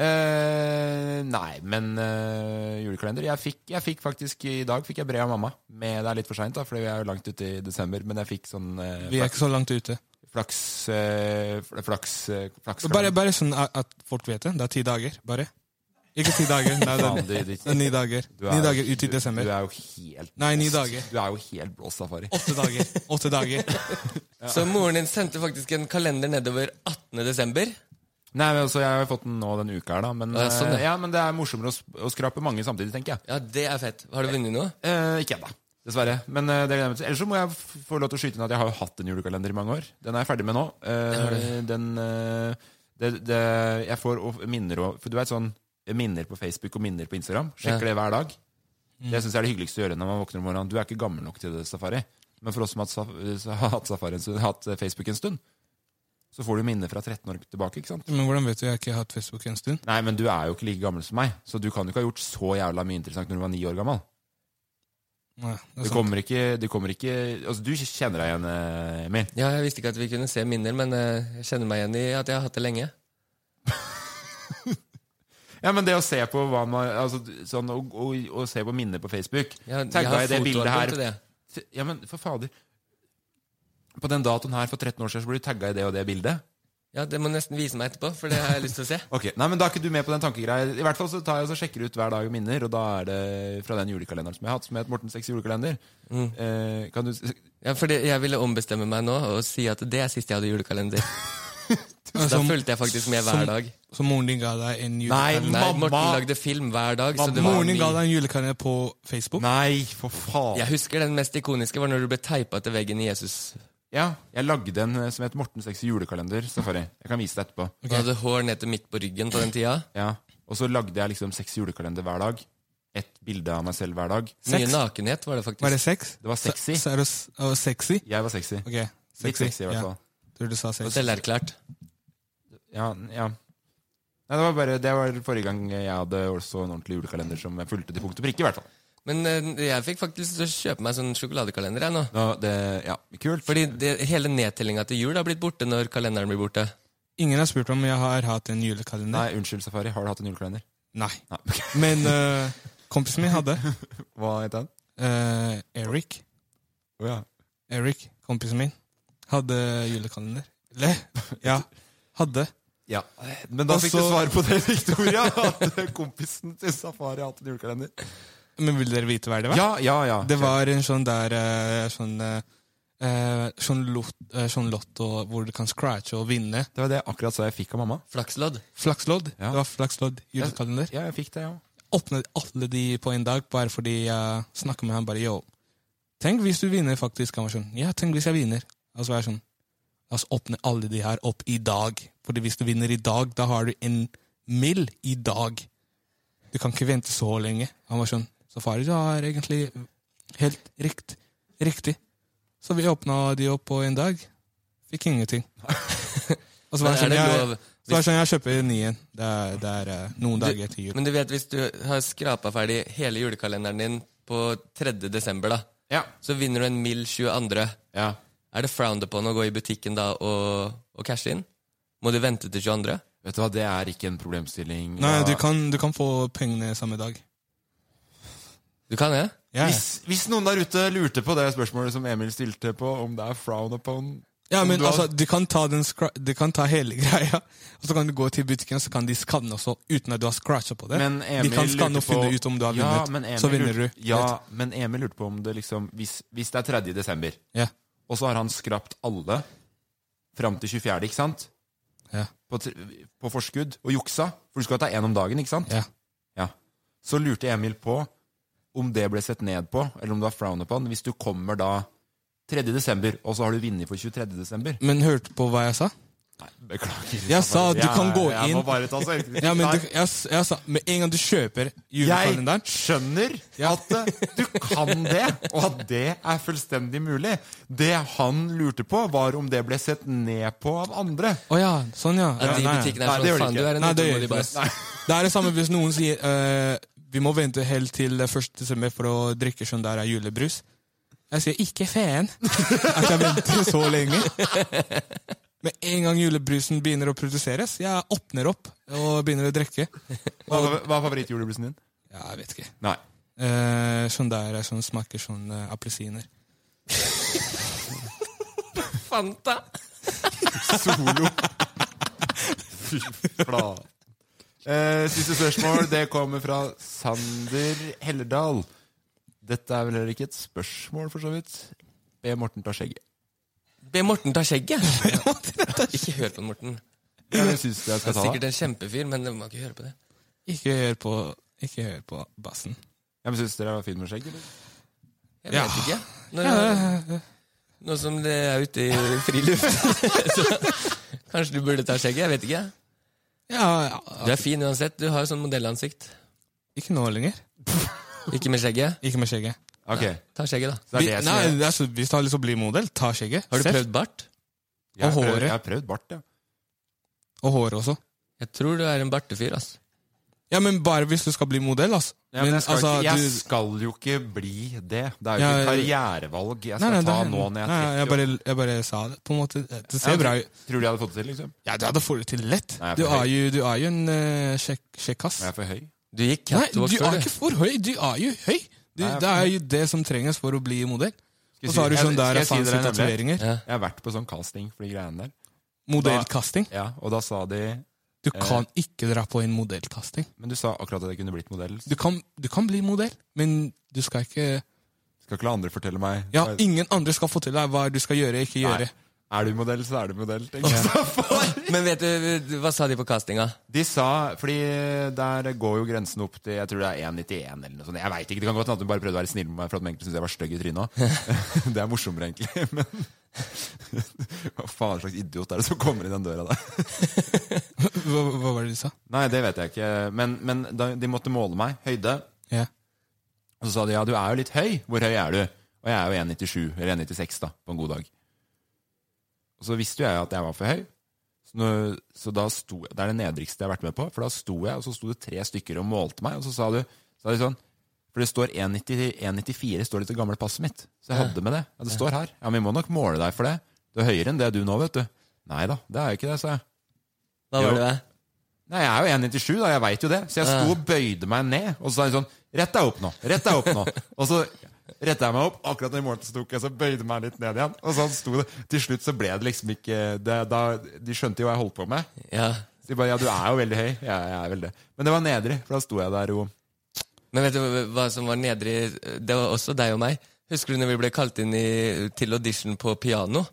Eh, nei, men eh, julekalender jeg fikk, jeg fikk faktisk i dag fikk jeg brev av mamma. Med, det er litt for seint, for vi er jo langt ute i desember. Men jeg fikk sånn eh, Vi er ikke så langt ute. flaks... eh, fl- flaks, eh, flaks Bare, bare sånn at at folk vet det. Det er ti dager, bare. Ikke ti dager. Nei, det Faen, er, du- du- det er ni dager. du er- Ni dager ut i desember. Du, du er jo helt Nei, ni blåst. dager. Du er jo helt blåst, Safari. Åtte dager. Åtte dager. Så moren din sendte faktisk en kalender nedover 18. desember. Nei, men altså, Jeg har jo fått den nå denne uka, her da men, Ja, sånn, eh, ja. ja, men det er morsommere å, sp- å skrape mange samtidig, tenker jeg. Ja, det er fett. Har du vunnet noe? Eh, ikke ennå, dessverre. Men eh, det gleder jeg meg til. Ellers så må jeg f- få lov til å skyte inn at jeg har jo hatt en julekalender i mange år. Den er jeg ferdig med nå. Eh, den eh, det, det, Jeg får of- minner og For du vet sånn minner på Facebook og minner på Instagram. Sjekker det hver dag. Det syns jeg er det hyggeligste å gjøre når man våkner om morgenen. Du er ikke gammel nok til det, Safari. Men for oss som har hatt saf- eh, har hatt, safari, en stund- hatt Facebook en stund, så får du minner fra 13 år tilbake. ikke sant? Men hvordan vet du jeg har ikke hatt Facebook en stund? Nei, men du er jo ikke like gammel som meg, så du kan jo ikke ha gjort så jævla mye interessant når du var ni år gammel. Nei, det Du er sant. kommer ikke, du kommer ikke Altså, du kjenner deg igjen, eh, Emil. Ja, jeg visste ikke at vi kunne se minner, men eh, jeg kjenner meg igjen i at jeg har hatt det lenge. Ja, men det å se på hva man Altså, du- sånn Å å- å se på minner på Facebook Jeg, jeg Tagga i det fotoalbum bildet til her det. Ja, men for fader. På den datoen her for 13 år siden så ble du tagga i det og det bildet. Ja, det må du nesten vise meg etterpå, for det har jeg lyst til å se. Ok, nei, men Da er ikke du med på den tankegreia. I hvert fall så tar jeg og så sjekker ut hver dag og minner, og da er det fra den julekalenderen som jeg har hatt, som het Morten Seks julekalender. Eh, kan du s- Ja, for det, jeg ville ombestemme meg nå og si at det er sist jeg hadde julekalender. Så da Som- fulgte jeg faktisk med som- hver dag. Så moren din ga deg en Nei, julekalender? Nei, mamma! Morten lagde film hver dag, så det var Moren din ga mye. deg en julekalender på Facebook? Nei, for faen! Jeg husker den mest ikoniske var når du ble teipa til veggen i Jesus. Ja, jeg lagde en eh, som het Morten Sexy julekalender. Safari. Jeg kan vise deg etterpå. Du hadde hår ned til midt på ryggen på den tida. Ja. Og så lagde jeg liksom seks julekalender hver dag. Ett bilde av meg selv hver dag. Mye Sex? nakenhet var det faktisk. Var det sex? Det var sexy. Så, så er det s- å, sexy? Jeg var sexy. Ok, Litt sexy, i hvert fall. Ja, tror du sa Og sex. selverklært. Ja, ja. Nei, det var bare Det var forrige gang jeg hadde også en ordentlig julekalender som jeg fulgte til punkt og prikke, i hvert fall. Men eh, jeg fikk faktisk lyst til å kjøpe meg sånn sjokoladekalender jeg nå. Nå, det, ja, kult. Fordi det, hele nedtellinga til jul har blitt borte når kalenderen blir borte. Ingen har spurt om jeg har hatt en julekalender. Nei, unnskyld, Safari. Har du hatt en julekalender? Nei. Nei. Men eh, kompisen min hadde. Hva het den? eh, Eric. Å ja. Eric, kompisen min, hadde julekalender. Le? Ja. Hadde. Ja, Men da Og fikk så- du svar på det, Victoria. At kompisen til Safari hadde en julekalender. Men vil dere vite hva det var? Ja, ja, ja. Det var en sånn der eh, sånn, eh, sånn, lot, eh, sånn lotto hvor du kan scratche og vinne. Det var det jeg akkurat sa jeg fikk av mamma. Flakslodd. Flakslodd. Ja. Det var flakslodd julekalender. Ja, jeg fikk det, ja. Åpnet alle de på en dag bare fordi jeg snakket med ham bare yo. Tenk hvis du vinner, faktisk. Han var sånn Ja, tenk hvis jeg vinner. Og så var jeg sånn La oss åpne alle de her opp i dag. Fordi hvis du vinner i dag, da har du en mill i dag. Du kan ikke vente så lenge. Han var sånn Safari, du har egentlig helt rikt, riktig. Så vi åpna de opp på en dag. Fikk ingenting. og Men så var det sånn, er det jeg, lov- så var det sånn, jeg kjøper en ny en. Det er, det er eh, noen dager til jul. Men du vet, hvis du har skrapa ferdig hele julekalenderen din på 3. desember, da, Ja. så vinner du en mild 22. ja. Er det frowned upon å gå i butikken da og, og cashe inn? Må du vente til 22.? Vet du hva, det er ikke en problemstilling. Nei, Ja. du kan, du kan få pengene samme dag. Du kan det? Ja, ja. Hvis, hvis noen der ute lurte på det spørsmålet som Emil stilte på, om det er frown upon Ja, om men du har- altså, du kan, ta den scra- du kan ta hele greia, og så kan du gå til butikken, og så kan de skanne også, uten at du har scratcha på det. Men de Emil kan skanne lurte og finne på- ut om du har Ja, vunnet. men Emil så vinner du. lurte- Ja, men Emil lurte på om det liksom Hvis, hvis det er 3. desember, Ja. og så har han skrapt alle fram til 24., ikke sant? Ja. På, tr- på forskudd, og juksa. For du skal ta én om dagen, ikke sant? Ja. Ja. Så lurte Emil på om det ble sett ned på, eller om det var frown upon, hvis du kommer da 3. desember, og så har du vunnet for 23. desember. Men hørte på hva jeg sa? Beklager. Jeg sa du kan gå Jeg må inn- bare ta selvkritikk. Ja, men du, jeg, s- jeg sa, Med en gang du kjøper Jeg julekalenderen skjønner at eh, du kan det, og at det er fullstendig mulig. Det han lurte på, var om det ble sett ned på av andre. Å ja, sånn ja. At ja de nei, ja. butikkene Nei, er det gjør sånn de Faen, ikke. du er en Nei, det gjør utålmodig ikke bass. det. Det er det samme hvis noen sier eh, vi må vente helt til det 1. desember for å drikke sånn der er julebrus. Jeg sier ikke feen. At jeg venter så lenge. Med en gang julebrusen begynner å produseres, jeg åpner opp og begynner å drikke. Hva hva er favorittjulebrusen din? Ja, jeg vet ikke. Nei. Eh, sånn der er sånn smaker sånn eh, appelsiner. Fanta! Solo. Fy flate. Eh, siste spørsmål det kommer fra Sander Helledal. Dette er vel heller ikke et spørsmål, for så vidt. Be Morten ta skjegget. Be Morten ta skjegget! Ikke hør på den, Morten. Jeg syns jeg Han skal er ta sikkert det. en kjempefyr, men du må ikke høre på det. Ikke hør på, ikke hør på bassen. Jeg syns dere var fine med skjegg, eller? Jeg vet ikke. Nå, nå som det er ute i friluft, så kanskje du burde ta skjegget. Jeg vet ikke. Ja, Du ja, er fin uansett. Du har jo sånn modellansikt. ikke nå lenger. Ikke med skjegget. Ikke med skjegget. Ok, Ta skjegget, da. så det Vi- er det som Nei, er- altså, Hvis du har lyst til å bli modell, ta skjegget. Har du Selv. prøvd bart? Jeg har Og prøvd- håret. Jeg har prøvd bart, ja. Og håret også. Jeg tror du er en bartefyr, ass. Ja, men bare hvis du skal bli modell, altså. Ja, men jeg, skal altså, ikke, jeg du- skal jo ikke bli det. Det er jo ikke Ja, et jeg- karrierevalg jeg Nei, skal nei, ta det- nå når jeg er nei, 30 jeg år. bare, jeg bare sa det, på en måte. Det Ja, ser bra ut. Tror du jeg hadde fått det til, liksom? Ja, du hadde fått det til lett. Nei, jeg er Du for er høy. jo, du er jo en eh, kjekk, kjekkass. Er jeg for høy? Du gikk Nei, catwalk du før, er du. ikke for høy! Du er jo høy! Du, Nei, jeg er det for er jo det som trenges for å bli modell. jeg Og si- så har du jeg- sånn der skal jeg si fancy dere en hemmelighet? tatoveringer. Ja. Jeg har vært på sånn casting for de greiene der. Modellkasting. Ja, Og da sa de Du kan ikke dra på en modellkasting. Men du sa akkurat at jeg kunne blitt modell. Du kan, du kan bli modell, men du skal ikke Skal ikke la andre fortelle meg Ja, Nei. ingen andre skal fortelle deg hva du skal gjøre, ikke gjøre. Er du modell, så er du modell, tenker jeg. Men vet du, hva sa de på castinga? De sa Fordi der går jo grensen opp til Jeg tror det er 1,91 eller noe sånt. Jeg vet ikke, Det kan godt hende at hun bare prøvde å være snill med meg for at hun egentlig syntes jeg var stygg i trynet. også. det er morsommere, egentlig. Men hva faen slags idiot er det som kommer inn den døra der? Hva, hva var det du sa? Nei, det vet jeg ikke. Men, men da, de måtte måle meg. Høyde. Ja. Og så sa de ja, du er jo litt høy. Hvor høy er du? Og jeg er jo 1,97 eller 1,96 da, på en god dag. Og så visste jo jeg at jeg var for høy. Så, nå, så da sto jeg, Det er det nedrigste jeg har vært med på. For da sto jeg, og så sto det tre stykker og målte meg, og så sa du så sa de sånn For det står 1,90 1,94 står det til gamle passet mitt. Så jeg hadde med det. Ja, det står her. Ja, men vi må nok måle deg for det. Du er høyere enn det du nå, vet du. Nei da, det er jo ikke det, sa jeg. Hva var Jo. det? da? Nei, jeg er jo 1,97 da, jeg vet jo det. Så jeg sto og bøyde meg ned, og så sa hun sånn, rett deg opp nå, rett deg opp nå. Og så rettet jeg meg opp, akkurat når morgenen tok jeg, så bøyde meg litt ned igjen. Og så sto det, til slutt så ble det liksom ikke, det, da, de skjønte jo hva jeg holdt på med. Ja. Så De bare, ja, du er jo veldig høy. Ja, jeg er vel det. Men det var nedre, for da sto jeg der og Men vet du hva som var nedre i- Det var også deg og meg. Husker du når vi ble kalt inn i, til audition på piano?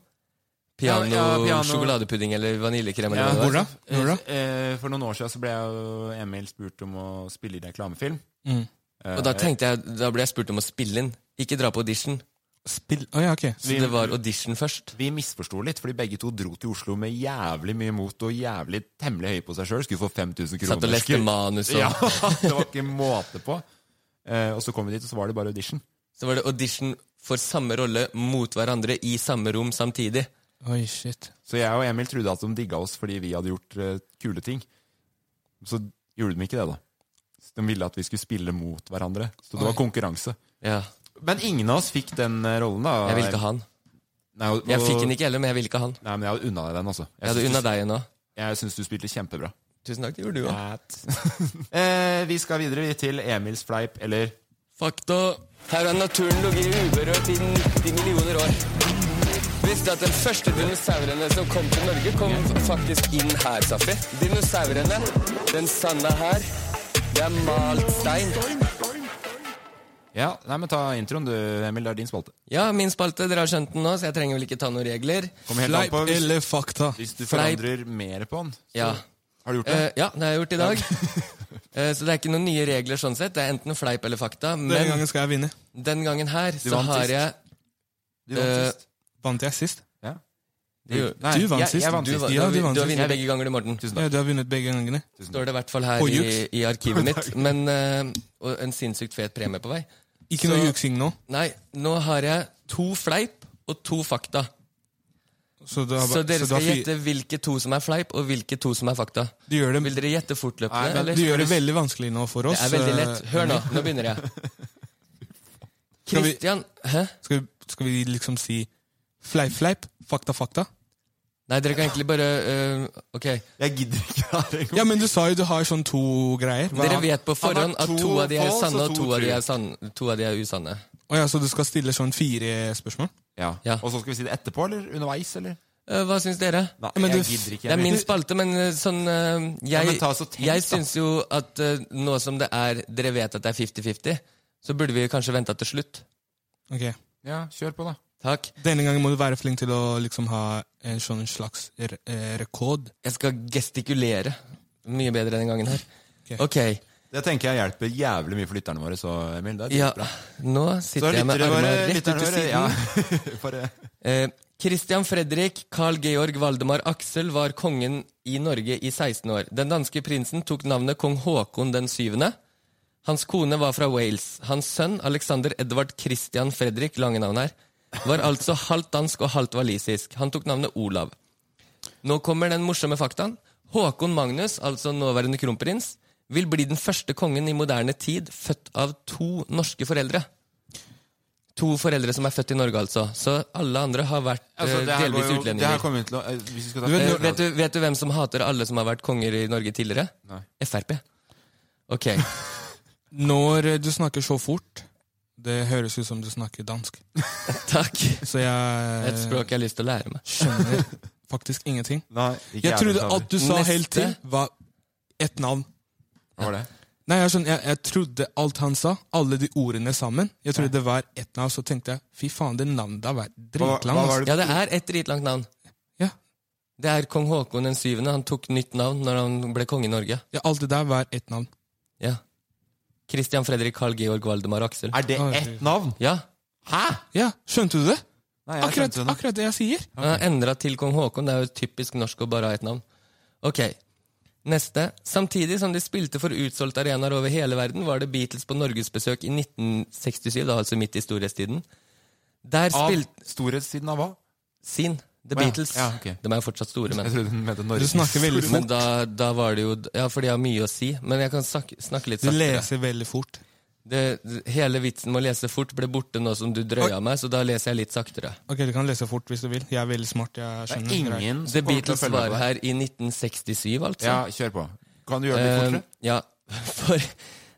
Piano, Ja, ja, piano. sjokoladepudding eller vaniljekrem? Ja, Eller hva det Hvor da? var. Hvor da? Eh, For noen år siden så ble jeg og Emil spurt om å spille i reklamefilm. Og da tenkte jeg, da ble jeg spurt om å spille inn. Ikke dra på audition. Spill Å ja, ok. Så det var audition først. Vi misforsto litt, fordi begge to dro til Oslo med jævlig mye mot og jævlig temmelig høye på seg sjøl. Skulle få 5000 kroner. Satt og leste manus og Ja, det var ikke måte på. Eh, og så kom vi dit, og så var det bare audition. Så var det audition for samme rolle mot hverandre i samme rom samtidig. Oi, shit. Så jeg og Emil trodde at de digga oss fordi vi hadde gjort eh, kule ting. Så gjorde de ikke det, da. Så De ville at vi skulle spille mot hverandre. Så det var konkurranse. Ja, Men ingen av oss fikk den eh, rollen, da. Jeg ville ikke ha han. Nei, og- Jeg fikk den ikke heller, men jeg ville ikke ha han. Nei, men jeg hadde unna deg den, altså. Jeg hadde syns unna du, deg nå. jeg syns du spilte kjempebra. Tusen takk, det gjorde du òg. eh, vi skal videre vi, til Emils fleip, eller Fakta. Her har naturen ligget uberørt i 90 millioner år. Visste at den første dinosaurene som kom til Norge, kom faktisk inn her, Safi. Dinosaurene, den sanda her, det er malt stein. Ja, nei, men ta introen, du, Emil. Det er din spalte. Ja, min spalte, dere har skjønt den nå, så jeg trenger vel ikke ta noen regler. Kom helt an Fleip på hvis, eller fakta? hvis du Fleip. forandrer mer på den. så- Ja. Har du gjort det? Eh, ja, det har jeg gjort i dag. Eh, så det er ikke noen nye regler sånn sett. Det er enten fleip eller fakta. Denne Men gangen skal jeg vinne. den gangen her så vant har sist. jeg du vant eh, sist. Vant jeg sist? Ja. Du- Nei, du vant jeg, sist. Jeg vant Du, sist. var- Ja, du, du har- vant du har sist. vunnet begge ganger, du, Morten. Tusen Ja, takk. du har vunnet begge gangene. Står det i hvert fall her På i, juks. i arkivet mitt. Men eh, og en sinnssykt fet premie på vei. Ikke Så- noe juksing nå. Nei, nå har jeg to fleip og to fakta. Så, du har, ba- Så dere du skal har fi- gjette hvilke to som er fleip, og hvilke to som er fakta. Du gjør det Vil dere gjette Nei, fortløpende? men eller? Du gjør det veldig vanskelig nå for Det oss. er veldig lett. Eh, Hør nå. Nå begynner jeg. Skal vi- Christian Hæ? Skal vi, skal vi liksom si fleip, fleip, fakta, fakta? Nei, dere kan egentlig bare eh, Ok. Jeg gidder ikke ha det. Ja, men du sa jo du har sånn to greier. Hva- Dere vet på forhånd Han at har to av de er false sanne, og to og to av de true. er, sann- to av de er usanne. Å ja, så du skal stille sånn fire spørsmål? Ja. Ja. Og så skal vi si det etterpå, eller underveis, eller? Eh, Hva syns dere? Nei, men jeg du- gidder ikke. Det er Emil. min spalte, men eh, sånn eh, Ja, Jeg, men ta så tenk, jeg da. syns jo at eh, nå som det er Dere vet at det er 50-50, så burde vi kanskje venta til slutt. Ok. Ja, kjør på, da. Takk. Denne gangen må du være flink til å liksom ha en sånn slags re eh, rekord. Jeg skal gestikulere mye bedre denne gangen her. Ok. Ok. Det tenker jeg hjelper jævlig mye for lytterne våre, så Emil. Det er Ja, dritbra. nå Så sitter jeg med lytterne armene våre, rett ut lytterne til våre siden. ja. Bare Eh, Christian Fredrik Carl Georg Valdemar Aksel var kongen i Norge i 16 år. Den danske prinsen tok navnet kong Haakon den syvende. Hans kone var fra Wales. Hans sønn, Alexander Edvard Christian Fredrik, lange navn her, var altså halvt dansk og halvt walisisk. Han tok navnet Olav. Nå kommer den morsomme faktaen. Håkon Magnus, altså nåværende kronprins, vil bli den første kongen i moderne tid født av to norske foreldre. To foreldre som er født i Norge, altså. Så alle andre har vært Altså, eh, det her går delvis jo- Det her utlendinger. kommer vi til å eh, Hvis vi skal ta Eh, vet, du, vet du hvem som hater alle som har vært konger i Norge tidligere? Nei. Frp. Ok. Når eh, du snakker så fort, det høres ut som du snakker dansk. Takk. Så jeg Et språk jeg har lyst til å lære meg. skjønner faktisk ingenting. Nei, ikke Jeg trodde heller. alt du sa Neste. helt til, var ett navn. Hva var det? Nei, jeg, skjønner, jeg, jeg trodde alt han sa, alle de ordene sammen. Jeg trodde det var ett navn, så tenkte jeg fy faen, det navnet der var dritlangt. altså. hva ass. var Ja, det er et dritlangt navn. Ja, Det er kong Haakon den syvende. Han tok nytt navn når han ble konge i Norge. ja, alt det der var ett navn. Ja. Christian Fredrik Carl Georg Valdemar Aksel. Er det ett navn? Ja. Hæ?! Ja, Skjønte du det? Nei, jeg Akkurat, skjønte det. akkurat det jeg sier. Han har endra til kong Haakon. Det er jo typisk norsk å bare ha ett navn. Ok. Neste. Samtidig som de spilte for utsolgte arenaer over hele verden, var det Beatles på norgesbesøk i 1967, da altså midt i storhetstiden. Der spilte Av storhetstiden av hva? Sin. The Å ja. Beatles. Ja, ok. De er jo fortsatt store, men Jeg trodde den mente Norge. Du snakker veldig Men fort. da, da var det jo Ja, for de har mye å si. Men jeg kan snakke, snakke litt Du saktere. leser veldig fort. det, hele vitsen med å lese fort ble borte nå som du drøya meg, så da leser jeg litt saktere. Ok, Du kan lese fort hvis du vil. Jeg er veldig smart. jeg Det skjønner. er ingen The som kommer til å Beatles følge med var på det. her i 1967, altså. Ja, kjør på. Kan du gjøre det litt Eh, fortere? ja, for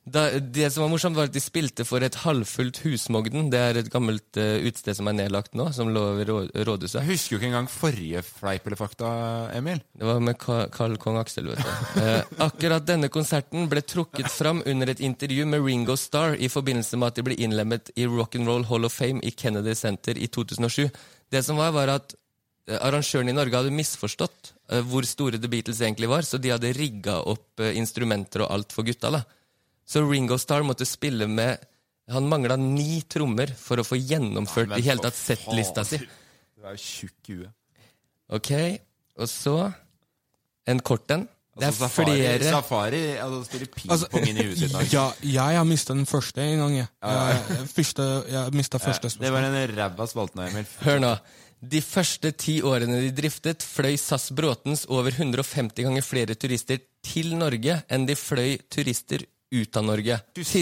Da, det som var morsomt, var at de spilte for et halvfullt Husmogden. Det er et gammelt eh, utested som er nedlagt nå, som lå ved rå, rådhuset. Jeg husker jo ikke engang forrige fleip eller fakta, Emil. Det var med Ka- Carl Kong Aksel, vet du. Eh, akkurat denne konserten ble trukket fram under et intervju med Ringo Starr i forbindelse med at de ble innlemmet i Rock'n'Roll Hall of Fame i Kennedy Center i 2007. Det som var, var at eh, arrangørene i Norge hadde misforstått eh, hvor store The Beatles egentlig var, så de hadde rigga opp eh, instrumenter og alt for gutta, da. Så Ringo Starr måtte spille med Han mangla ni trommer for å få gjennomført i hele tatt settlista si. Du er jo tjukk i huet. Ok, og så en kort en. Det er Altså, safari, flere Safari altså, spiller pingpong Altså, inn i huet sitt. altså. ja, jeg har mista den første en gang, jeg. Jeg, jeg, første, jeg mista første Det spørsmål. var en ræva spalten, Emil. Hør nå. De første ti årene de driftet, fløy SAS Bråtens over 150 ganger flere turister til Norge enn de fløy turister ut av Norge. Husker du noe av det her,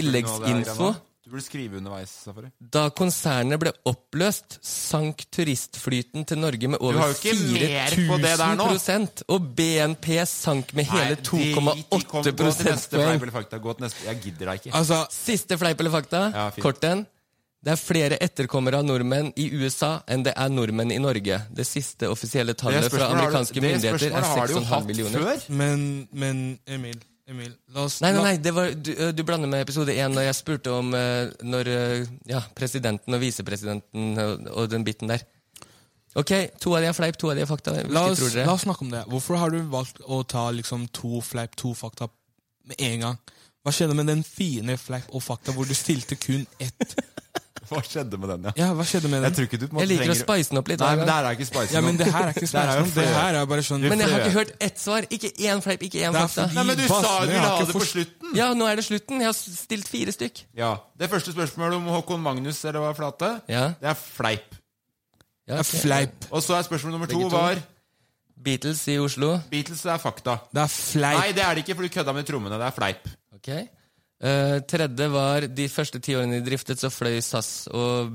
Tilleggsinfo. Emma? Du burde skrive underveis, Safari. Da konsernet ble oppløst, sank turistflyten til Norge med har over jo ikke mer på det der 4000 nå. prosent, og BNP sank med hele Nei, drit i, kom, 2,8 Gå til neste prosentpoeng. fleip eller fakta. Gå til neste. Jeg gidder deg ikke. Altså, Siste fleip eller fakta. Ja, fint. Kort en. Det er flere etterkommere av nordmenn i USA enn det er nordmenn i Norge. Det siste offisielle Det tallet fra spørsmålet har du- amerikanske det myndigheter spørsmålet er har du jo 6,5 hatt millioner. før. men, men Emil, Emil, la oss Nei, nei, la- nei, det var, du, ø, du blander med episode én, når jeg spurte om ø, når ø, ja, presidenten og visepresidenten og, og den biten der. Ok, to av de er fleip, to av de er fakta. La Hvilke oss, tror la dere? oss snakke om det. Hvorfor har du valgt å ta liksom to fleip, to fakta med en gang? Hva skjedde med den fine fleip og fakta hvor du stilte kun ett? Hva skjedde med den, ja? Ja, hva skjedde med Jeg tror den? ikke du på en måte Jeg liker å trenger- spice den opp litt. Nei, hver men gang. det her er ikke spicy Ja, men nok. det her er ikke Det her er jo spørsmål. Det flø. her er bare sånn men jeg har flø. ikke hørt ett svar. Ikke én fleip, ikke én Det er fakta. fordi- Nei, men du sa Bassene du ville har ha ikke det på forst- slutten! Ja, nå er det slutten. Jeg har s- stilt fire stykk. Ja, Det første spørsmålet om Håkon Magnus eller hva flate, Ja. det er fleip. Ja, Det er ok. fleip. Og så er spørsmål nummer to Begge to. var Beatles i Oslo. Beatles det er fakta. Det er Nei, fleip. det er det ikke, for du kødda med trommene. Det er fleip. Ok. Eh, tredje var de første ti årene de driftet, så fløy SAS, og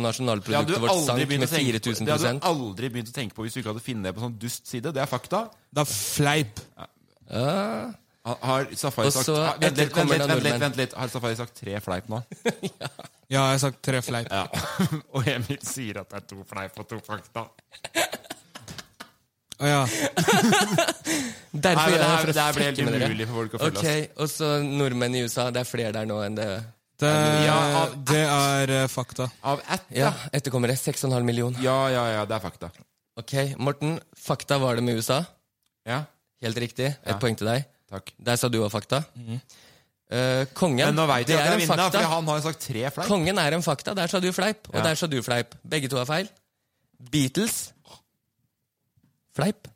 Det hadde nasjonalproduktet du vårt aldri sank begynt med å tenke på. 4000 Det hadde du aldri begynt å tenke på hvis du ikke hadde funnet det på sånn dust side. Det er fakta. Det er fleip. Ja. Har- Har Safari Og sagt så Ah, vent, litt, vent, litt, etterkommer det vent, litt, nordmenn. vent litt. Har Safari sagt tre fleip nå? Ja, jeg har sagt tre fleip. Ja. og Emil sier at det er to fleip og to fakta. Å ja. Derfor Nei, men gjør det jeg her- det for det å her blir helt fucke med umulig dere. for folk å følge Ok, Og så nordmenn i USA. Det er flere der nå enn det Det, Ja, ah. av- det er eh, fakta. Av ett? Ja, etterkommere. 6,5 million. Ja, ja, ja, det er fakta. Ok, Morten. Fakta var det med USA. Ja, Helt riktig. Et poeng til deg. takk. Mhm. Der sa du var fakta. Eh, kongen, Men nå veit det jeg at er jeg en vinner, fakta. for han har jo sagt tre fleip. Kongen er en fakta. Der sa du fleip, og Ja. der sa du fleip. Begge to er feil. Beatles fleip.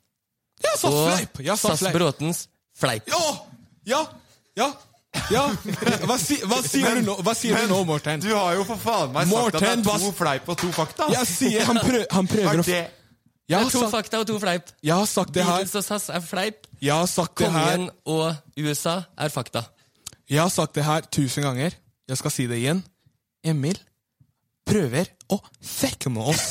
Jeg sa fleip! Jeg sa SAS fleip. Bråtens fleip. Ja! Ja! Ja! ja. Hva, si, hva sier du nå, hva sier du nå Morten? Du har jo for faen meg sagt at det Morten, er to hva- fleip og to fakta. Jeg sier Han, prø han prøver Er å det Det jeg har, er to sagt, fakta og to fleip. jeg har sagt altså. det her. Beatles og SAS er fleip. Jeg har sagt det her. Kongen og USA er fakta. Jeg har sagt det her tusen ganger. Jeg skal si det igjen. Emil prøver å fucke med oss.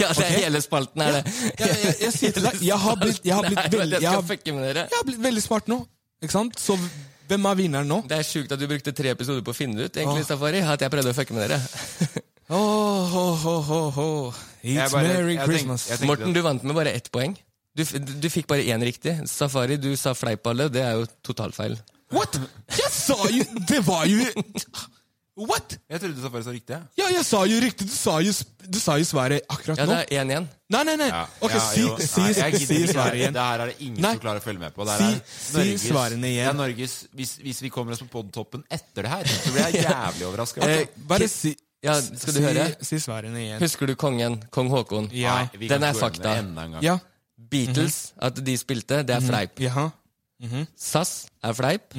Ja, det er Ok. hele spalten, er det. Jeg, jeg, jeg sier til deg, jeg har blitt, jeg har blitt, Nei, men veldig, jeg jeg skal har, fucke med dere. jeg har blitt veldig smart nå. Ikke sant? Så hvem er vinneren nå? Det er sjukt at du brukte tre episoder på å finne det ut, egentlig, Safari. At jeg prøvde å fucke med dere. Åh, åh, åh, åh, åh. Jeg It's bare- Merry jeg tenk- Christmas. jeg tenk- Morten, du vant med bare ett poeng. Du, f- du fikk bare én riktig. Safari, du sa fleipalle. Det er jo totalfeil. What?! Jeg sa jo Det var jo What?! Jeg trodde Safari sa riktig. jeg. Ja, jeg sa jo riktig. Du sa jo, sp- du sa jo svaret akkurat Ja, nå. det er én igjen. Nei, nei, nei. Ok, Ja, si, jo. si, Nei, jeg si, gidder ikke. svaret igjen. Det her er det ingen Nei. som klarer å følge med på. Det her Si- er si svarene igjen. Det er Norges, hvis, hvis vi kommer oss på podtoppen etter det her, så blir jeg jævlig altså. overraska. Eh, Bare si Ja, skal du si, høre? Si svarene igjen. Husker du kongen? Kong Haakon? Ja. Den er fakta. Ja. Beatles, Mhm. at de spilte, det er fleip. Jaha. SAS er fleip.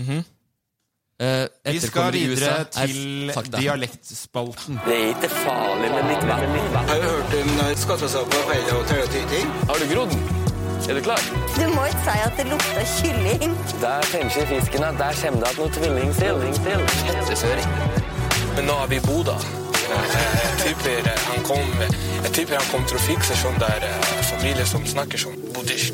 Eh, Vi Mhm. skal Etterkommer i USA videre er til fakta. dialektspalten. Det er ikke farlig med litt vann. Har du hørt om skattesappa, paella og tøyting? Har du grodd? Er du klar? Du må ikke si at det lukter kylling. Der fremskjer fisken at der kommer det at noe tvilling til. Hettesøring. Men nå er vi i Bodø. Jeg tipper han kom, jeg tipper han kom til å fikse sånn der eh, familie som snakker sånn bodisk.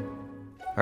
All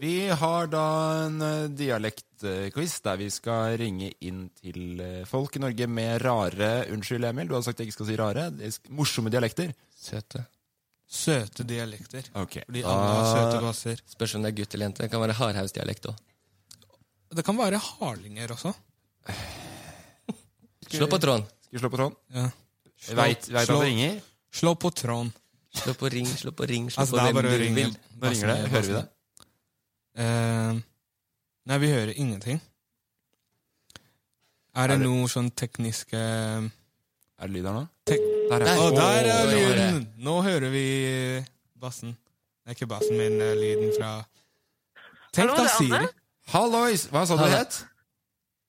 Vi har da en eh, dialektquiz der vi skal ringe inn til eh, folk i Norge med rare Unnskyld, Emil, du hadde sagt jeg ikke skal si rare. det er sk- Morsomme dialekter. Søte. Søte dialekter. Ok. Ah. Fordi alle har søte basser. Spørs om det er gutt eller jente. Det kan være hardhausdialekt òg. Det kan være harlinger også. Slå på tråden. Skal vi slå på tråden? Ja. Jeg Veit veit at slå- det ringer? Slå på tråden. Slå på ring, slå på ring, slå Altså, på det er hvem bare å du ringe. vil. Nå ringer det. Hører vi det? Eh, nei, vi hører ingenting. Er det, Er det- noe sånn tekniske Er det lyd her nå? tek Der Å, der er Åh, der er lyden! Nå hører vi bassen. Det er ikke bassen, men eh, lyden fra Tenk Hallo, da, det er Siri. Anne. Hallois! Hva sa du Hallo. het?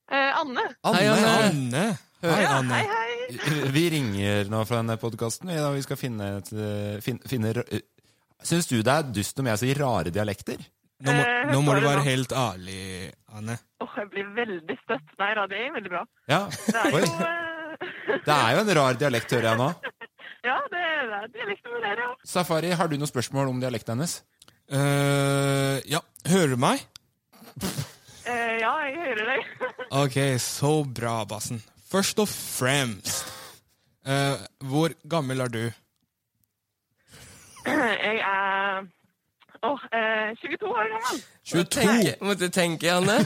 Eh, Anne. Hei, Anne. Anne! Hei, Ja, Anne. hei, hei. Vi ringer nå fra denne podkasten. Vi skal finne, et, eh, fin, finne r- eh, Syns du det er dust om jeg sier rare dialekter? Nå må, Eh, nå må hører du du være nå? helt ærlig, Anne. Åh, jeg blir veldig støtt. Nei da, det er veldig bra. Ja. Det er Oi. jo eh, Det er jo en rar dialekt, hører jeg nå. Ja, det er det. Det er liksom det, ja. Safari, har du noen spørsmål om dialekten hennes? Eh, ja, hører du meg? Eh, ja, jeg hører deg. Ok, så bra, bassen. Først og fremst, eh, hvor gammel er du? Jeg er Åh, eh, 22 år gammel. 22! Tenke- Måtte tenke, Anne. Eh,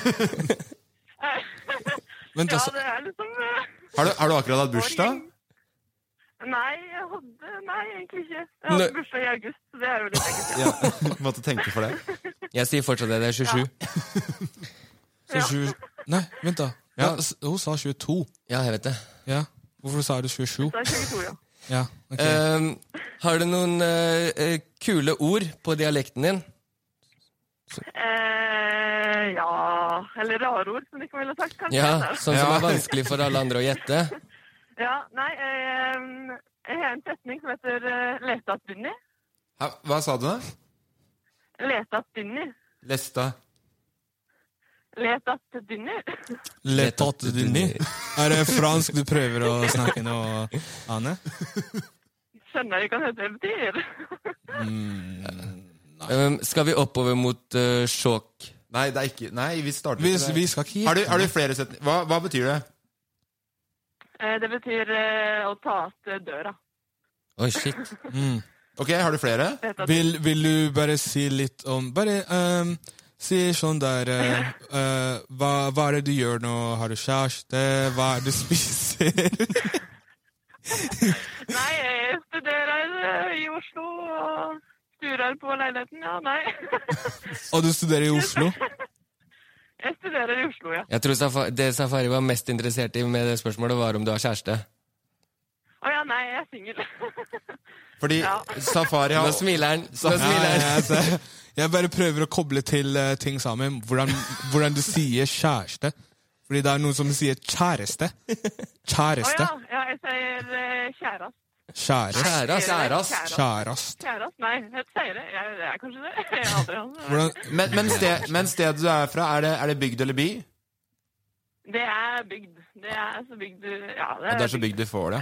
Vent, ja, altså. det er liksom eh, Har du, har du akkurat hatt bursdag? Nei, jeg hadde Nei, egentlig ikke. Jeg hadde Nei. bursdag i august. så Det er jo litt ekkelt. Ja, måtte tenke for det. Jeg sier fortsatt det. Det er 27. Så 20... Nei, vent, da. Ja. Da- s- Hun sa 22. Ja, jeg vet det. Ja. Hvorfor sa du 27? Det er 22, ja. Ja, ok. Ehm, har du noen eh, eh, kule ord på dialekten din? Eh, ja Eller rare ord, som de ikke ville sagt, kanskje. Ja, Sånn som Ja. er vanskelig for alle andre å gjette? ja nei, eh, jeg har en setning som heter eh, 'lete att Bunny'. Hæ, Hva sa du? da? Lete att Bunny. Lesta. Let at Dunny. Le tatte du ni. Er det fransk du prøver å snakke nå, Anne? Skjønner ikke hva det betyr. Ehm, skal vi oppover mot uh, sjåk? Nei, det er ikke Nei, vi starter Vi, ikke der. vi skal ikke Har du, har du flere setninger? Hva, hva betyr det? Eh, Det betyr eh, å ta att døra. Oi, shit. Ok, har du flere? Lete att- Vil, vil du bare si litt om Bare ehm, si sånn der eh, eh, hva, hva er det du gjør nå? Har du kjæreste? Hva er det du spiser? Nei, jeg studerer eh, i Oslo og sturer på leiligheten. Ja, nei. Og du studerer i Oslo? Jeg studerer i Oslo, ja. Jeg tror Safa- Det Safari var mest interessert i med det spørsmålet, var om du har kjæreste. Å ja, nei, jeg er singel. Fordi safari har Nå smiler han. Nå Sa- smiler Nei, han. nei, altså, jeg bare prøver å koble til eh, ting sammen. Hvordan, hvordan du sier kjæreste. Fordi det er noen som sier kjæreste. Å Kjæreste. ja, ja, jeg sier eh, kjærast. Kjærest. Kjærast. Kjærast. Kjærast. Kjærast, nei, jeg sier det. Jeg, jeg er kanskje det. Jeg aner ikke. Men, men, sted, men stedet du er fra, er det, er det bygd eller by? Det er bygd. Det er så bygd du Ja, det er, bygd. du får det.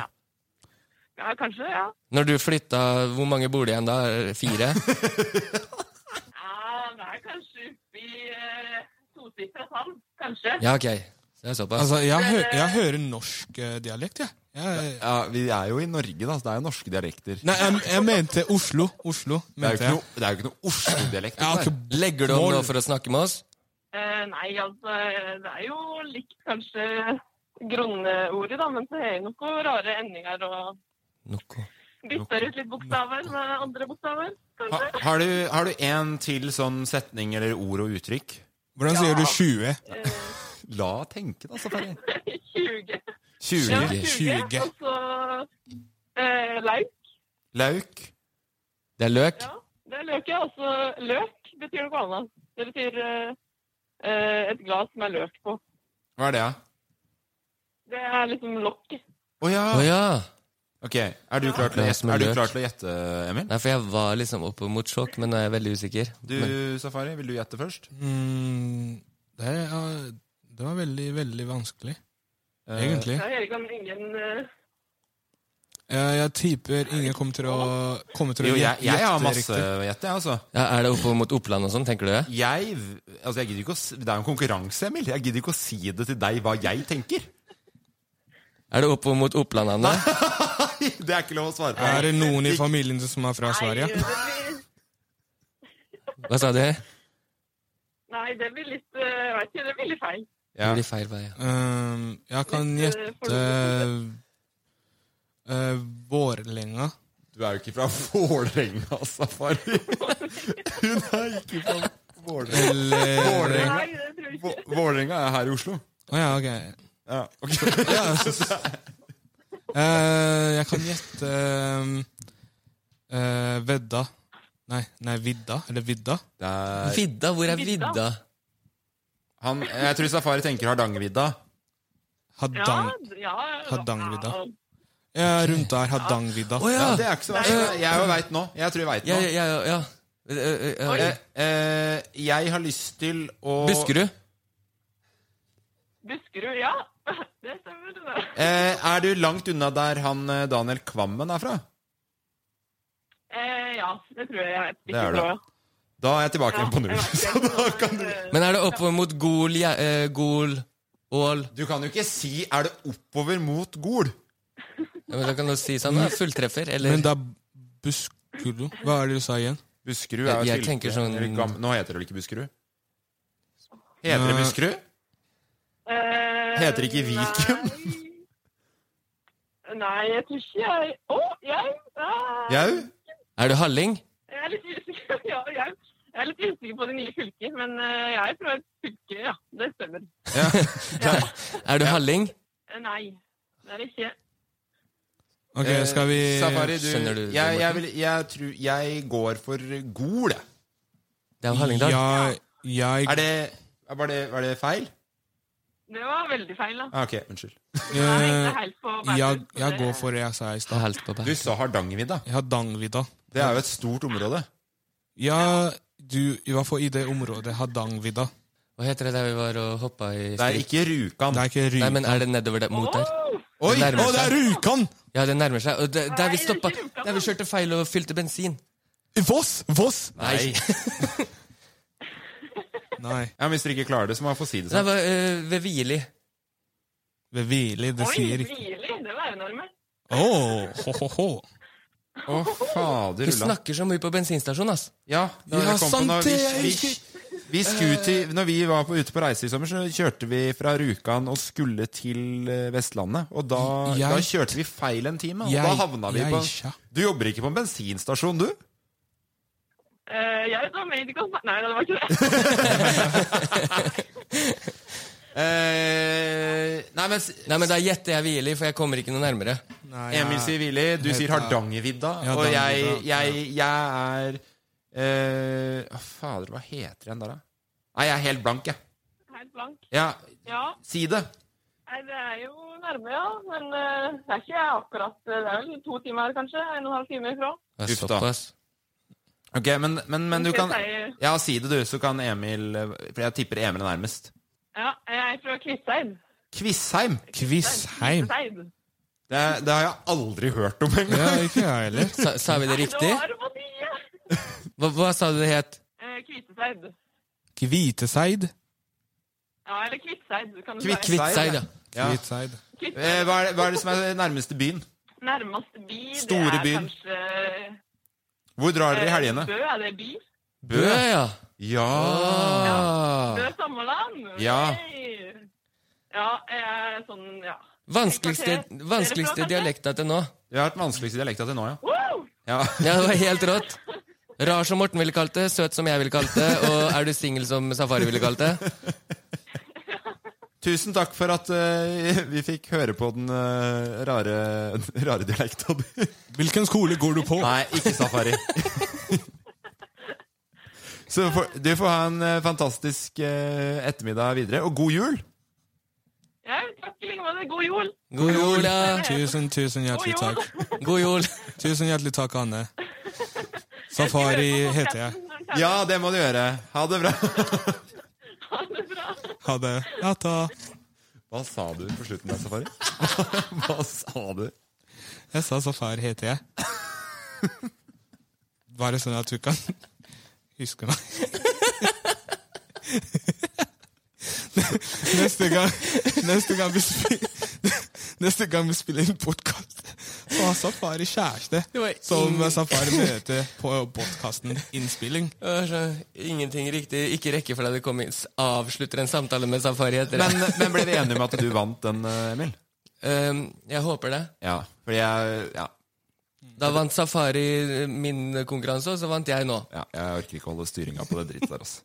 Ja, kanskje, ja. Når du flytta, hvor mange bor det igjen da? Fire? Ja, det er kanskje oppi uh, tosifra tall, kanskje. Ja, ok. Så det er såpass. Altså, jeg, hø jeg hører norsk eh, dialekt, jeg. jeg Ja, vi er jo i Norge, da, så det er jo norske dialekter. Nei, jeg, jeg mente Oslo. Oslo, det, er jo mente ikke jeg. noe, det er jo ikke noe Oslo-dialekt. Jeg har dette her. ikke Legger du om nå for å snakke med oss? Eh, nei, altså, det er jo likt kanskje grunneordet, da, men så er det noen rare endinger og bytter ut litt bokstaver med andre bokstaver, Ha, kanskje. har, du, har du en til sånn setning eller ord og uttrykk? Hvordan sier du 20? La tenke, da, Safari. 20. 20. Ja, 20. Og så eh, lauk. Lauk. Det er løk? Det er løk, ja. Og så løk betyr noe annet. Det betyr eh, eh, et glass med løk på. Hva er det, da? Det er liksom lokk. Å ja. Å ja. Ok, Er du klar til å Glass gjette, med er du løk. klar til å gjette Emil? Nei, for jeg var liksom oppe mot sjokk, men nå er jeg veldig usikker. Du, Men, Safari, vil du gjette først? Mm, det, er, det var veldig, veldig vanskelig. Eh, Egentlig. Jeg hører ikke om ingen eh, Jeg, jeg tipper ingen kommer til å komme til å Jo, jeg, jeg har masse riktig. å gjette, jeg, altså. ja, er det oppe mot Oppland og sånn, tenker du det? Jeg, altså jeg gidder ikke å, s- det er jo en konkurranse, Emil. Jeg gidder ikke å si det til deg hva jeg tenker. Er det oppe mot Oppland, Anne? Det er ikke lov å svare på. Er det noen i familien som er fra Sverige? Nei, det blir, Hva sa du? Det nei, det blir litt eh, Jeg vet ikke, det blir litt feil. Ja. blir feil vei. ja. Ehm, jeg kan Litt, eh, gjette uh, Vårlenga. Du er jo ikke fra Vålerenga, Safari. Hun er ikke fra Vålerenga. Eller Vålerenga. Nei, det tror jeg ikke. Vå- Vålerenga er her i Oslo. Å ja, ok. Ja, ok. Eh, jeg kan gjette um, eh, Vedda. Nei, nei, Vidda. Eller Vidda. Det er, Vidda? Hvor er Vidda? han, jeg tror Safari tenker Hardangervidda. Hadang... Ja, ja, Hardangervidda. ja. Ja, rundt der. Hadangvidda. Å ja! Ja, det er ikke så verst. Jeg jo veit nå. Jeg tror jeg veit Ja, nå. ja, ja. ja. Eh, eh, eh, Eh, eh, eh, jeg har lyst til å Buskerud? Buskerud, ja. Det stemmer. det. Eh, er du langt unna der han eh, Daniel Kvammen er fra? Eh, ja, det tror jeg jeg vet. Det er det. Da er jeg tilbake igjen på null. Så da kan du Men er det oppe mot Gol, ja, eh, Gol Ål? Du kan jo ikke si 'er det oppover mot Gol'? Ja, men da kan du si sånn, da, fulltreffer, eller Men det er Buskerud Hva er det du sa igjen? Buskerud er jo Jeg- et jeg tenker fylke. sånn- Eller Gam- Nå heter det vel ikke Buskerud? Heter det Nei. Buskerud? Eh, Heter ikke Viken? Nei. nei, jeg tror ikke jeg Å, jeg? eh, Jau? Er du Halling? Jeg er litt usikker ja, jeg, jeg er litt usikker på det nye fylket, men eh, jeg er fra et fylke, ja. Det stemmer. Er du Halling? Eh, Nei, det er det ikke. Ok, skal vi Eh, Safari, du, Skjønner du det, jeg, jeg, Morten? vil, jeg, tror, jeg går for Gol, jeg. Det er jo Hallingdal. Ja, jeg Er det, er- var, det, var det feil? Det var veldig feil, da. Ah, ok, unnskyld. Jeg eh, hengte helt på jeg, bærtur, så jeg det- går for det jeg sa i Det er stad. helt på Du bær. sa Hardangervidda. Hadangvidda. Det er jo et stort område. Ja, du, i hvert fall i det området. Hadangvidda. Hva heter det der vi var og hoppa i Det er strid? ikke Rjukan. Det er ikke Ry... Nei, men er det nedover der, mot der? Åh! Oi! det nærmer Å, det er Rjukan! Ja, det nærmer seg. Og det, der vi Nei, det er stoppa ikke Rjukan, Der vi kjørte feil og fylte bensin. Voss! Voss! Nei. Nei. Ja, men Hvis dere ikke klarer det, så må jeg få si det Det sånn. var eh, ved Hvili. Ved hvile, det Oi, sier ikke Virkelig, det var enormt. Å, ho, ho, ho. Å, fader Vi ulla. snakker så mye på bensinstasjon, ass. Ja, da Ja, jeg kom på sant noe. det, jeg Vi, husker. vi, vi skulle til, når vi var på, ute på reise i sommer, så kjørte vi fra Rjukan og skulle til eh, Vestlandet. Og da, Jeg- da kjørte vi feil en time, og Jeg- da havna vi på jeg- Du jobber ikke på en bensinstasjon, du? Eh, jeg var med i konsert... Nei, det var ikke det. Eh, nei, men s- Eh, Nei, men da gjetter jeg Hvili, for jeg kommer ikke noe nærmere. Nei, Emil jeg- sier Willy, du jeg sier heter- Hardangervidda. Ja, og jeg, Hardangervidda, jeg, jeg er eh, å, Fader, hva heter den der, da? Nei, jeg er helt blank, jeg. Helt blank. Ja, Ja. si det. Nei, det er jo nærme, ja. Men eh, det er ikke akkurat eh, Det er vel to timer, kanskje. En og en halv time ifra. Uff da. Ok, men, men, men du Skal kan jeg si- Ja, si det, du, så kan Emil eh, For jeg tipper Emil er nærmest. Ja, jeg er fra Kviteseid. Kvissheim. Kvissheim. Kviteseid. Det, det har jeg aldri hørt om engang. Ja, ikke jeg heller. Sa, sa vi det riktig? Nå er det på tide! Hva, hva sa du det het? Eh, Kviteseid. Kviteseid. Ja, eller Kviteseid, kan du si. Kvittseid, ja. Kviteseid. Eh, Hva, er det, hva er det som er nærmeste byen? Nærmeste by, Store det er byen. kanskje eh, Hvor drar dere i helgene? Bø, er det by? Eh, Bø, ja. Ja. Ah, Bø Sommerland? Ja. Hei. Ja, jeg er sånn, ja. Vanskeligste, Dere fra, vanskeligste kanskje? dialekta til nå? Det har vært vanskeligste dialekta til nå, ja. Wow! Ja. det var helt rått. Rar som Morten ville kalt det, søt som jeg ville kalt det, og er du singel som Safari ville kalt det? Tusen takk for at eh, vi fikk høre på den eh, rare, rare dialekta di. Hvilken skole går du på? Nei, ikke safari. Så får- du får ha en eh, fantastisk eh, ettermiddag videre, og god jul! Ja, takk i like måte. God jul! God jul, ja. Tusen, tusen hjertelig God jul. takk. God jul. Tusen hjertelig takk, Anne. Safari heter jeg. Ja, det må du gjøre. Ha det bra. Ha det. Ja, ta. Hva sa du på slutten av safari? Hva sa du? Jeg sa Safari heter jeg. Bare sånn at du kan huske meg. Neste gang Neste gang vi spiller Neste gang vi spiller en podkast, så har Safari kjæreste. Det var Som ingen- Safari møter på podkasten Innspilling. Jeg sa Ingenting riktig, ikke rekkefølge det kom inn. S- Avslutter en samtale med Safari etter det. Men, men ble vi enige om at du vant den, eh, Emil? Ehm, jeg håper det. Ja, fordi jeg Ja, Da vant Safari eh, min konkurranse, og så vant jeg nå. ja jeg orker ikke å holde styringa på det drittet der, altså.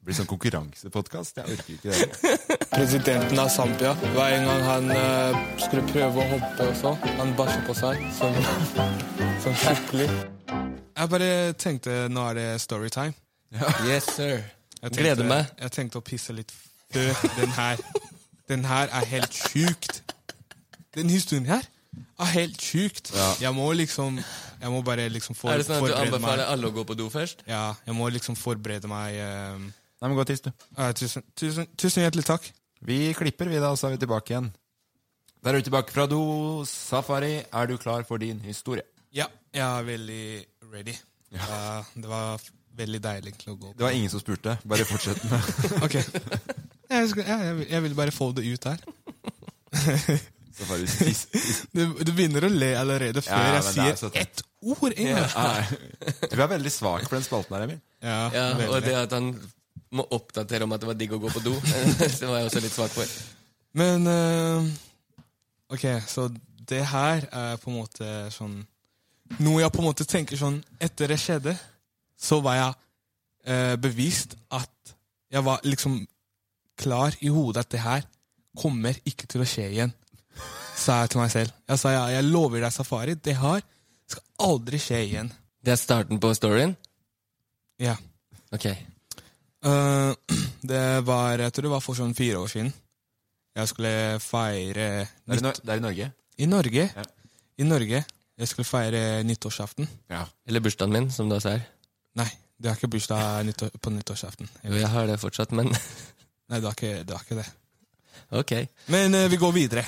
Det blir sånn konkurransepodkast. Jeg orker ikke det. Presidenten av Zambia. Hver gang han eh, skulle prøve å hoppe og så, han bæsja på seg. Sånn, sånn skikkelig. Jeg bare tenkte nå er det storytime. Yes, sir. Jeg Gleder meg. Jeg tenkte å pisse litt før den her. Den her er helt sjukt. Den historien her er helt sjukt. Jeg må liksom Jeg må bare liksom for, Er det sånn at du forberede anbefaler meg. alle å gå på do først? Ja, jeg må liksom forberede meg. eh, Nei, men gå og tiss, du. eh, tusen, tusen, tusen hjertelig takk. Vi klipper, vi da, og så er vi tilbake igjen. Der er du tilbake fra do. Safari, er du klar for din historie? Ja, jeg er veldig ready. Ja, det var f- veldig deilig egentlig å gå Det var ingen som spurte. Bare fortsett med Ok. Jeg, skal, ja, jeg, vil- jeg vil bare få det ut her. Safaris tiss. Du, du begynner å le allerede før Ja, jeg men det er sier søtt. ett ord engang. Du er veldig svak for den spalten her, Emil. Ja, Ja, veldig. Og det at han må oppdatere om at det var digg å gå på do, det var jeg også litt svak for. Men eh, Ok, så det her er på en måte sånn Noe jeg på en måte tenker sånn Etter det skjedde, så var jeg eh, bevist at jeg var liksom klar i hodet at det her kommer ikke til å skje igjen. Sa jeg til meg selv. Jeg sa ja, jeg lover deg safari, det her skal aldri skje igjen. Det er starten på storyen? Ja. Ok. Eh, det var, jeg tror det var for sånn fire år siden. Jeg skulle feire Det er i, Nor- det er i Norge. I Norge. Ja. I Norge. Jeg skulle feire nyttårsaften. Ja. Eller bursdagen min, som du også er. Nei, det er ikke bursdag nyttår, på nyttårsaften. Jo, jeg har det fortsatt, men Nei, det er ikke det. Er ikke det. ok. Men eh, vi går videre.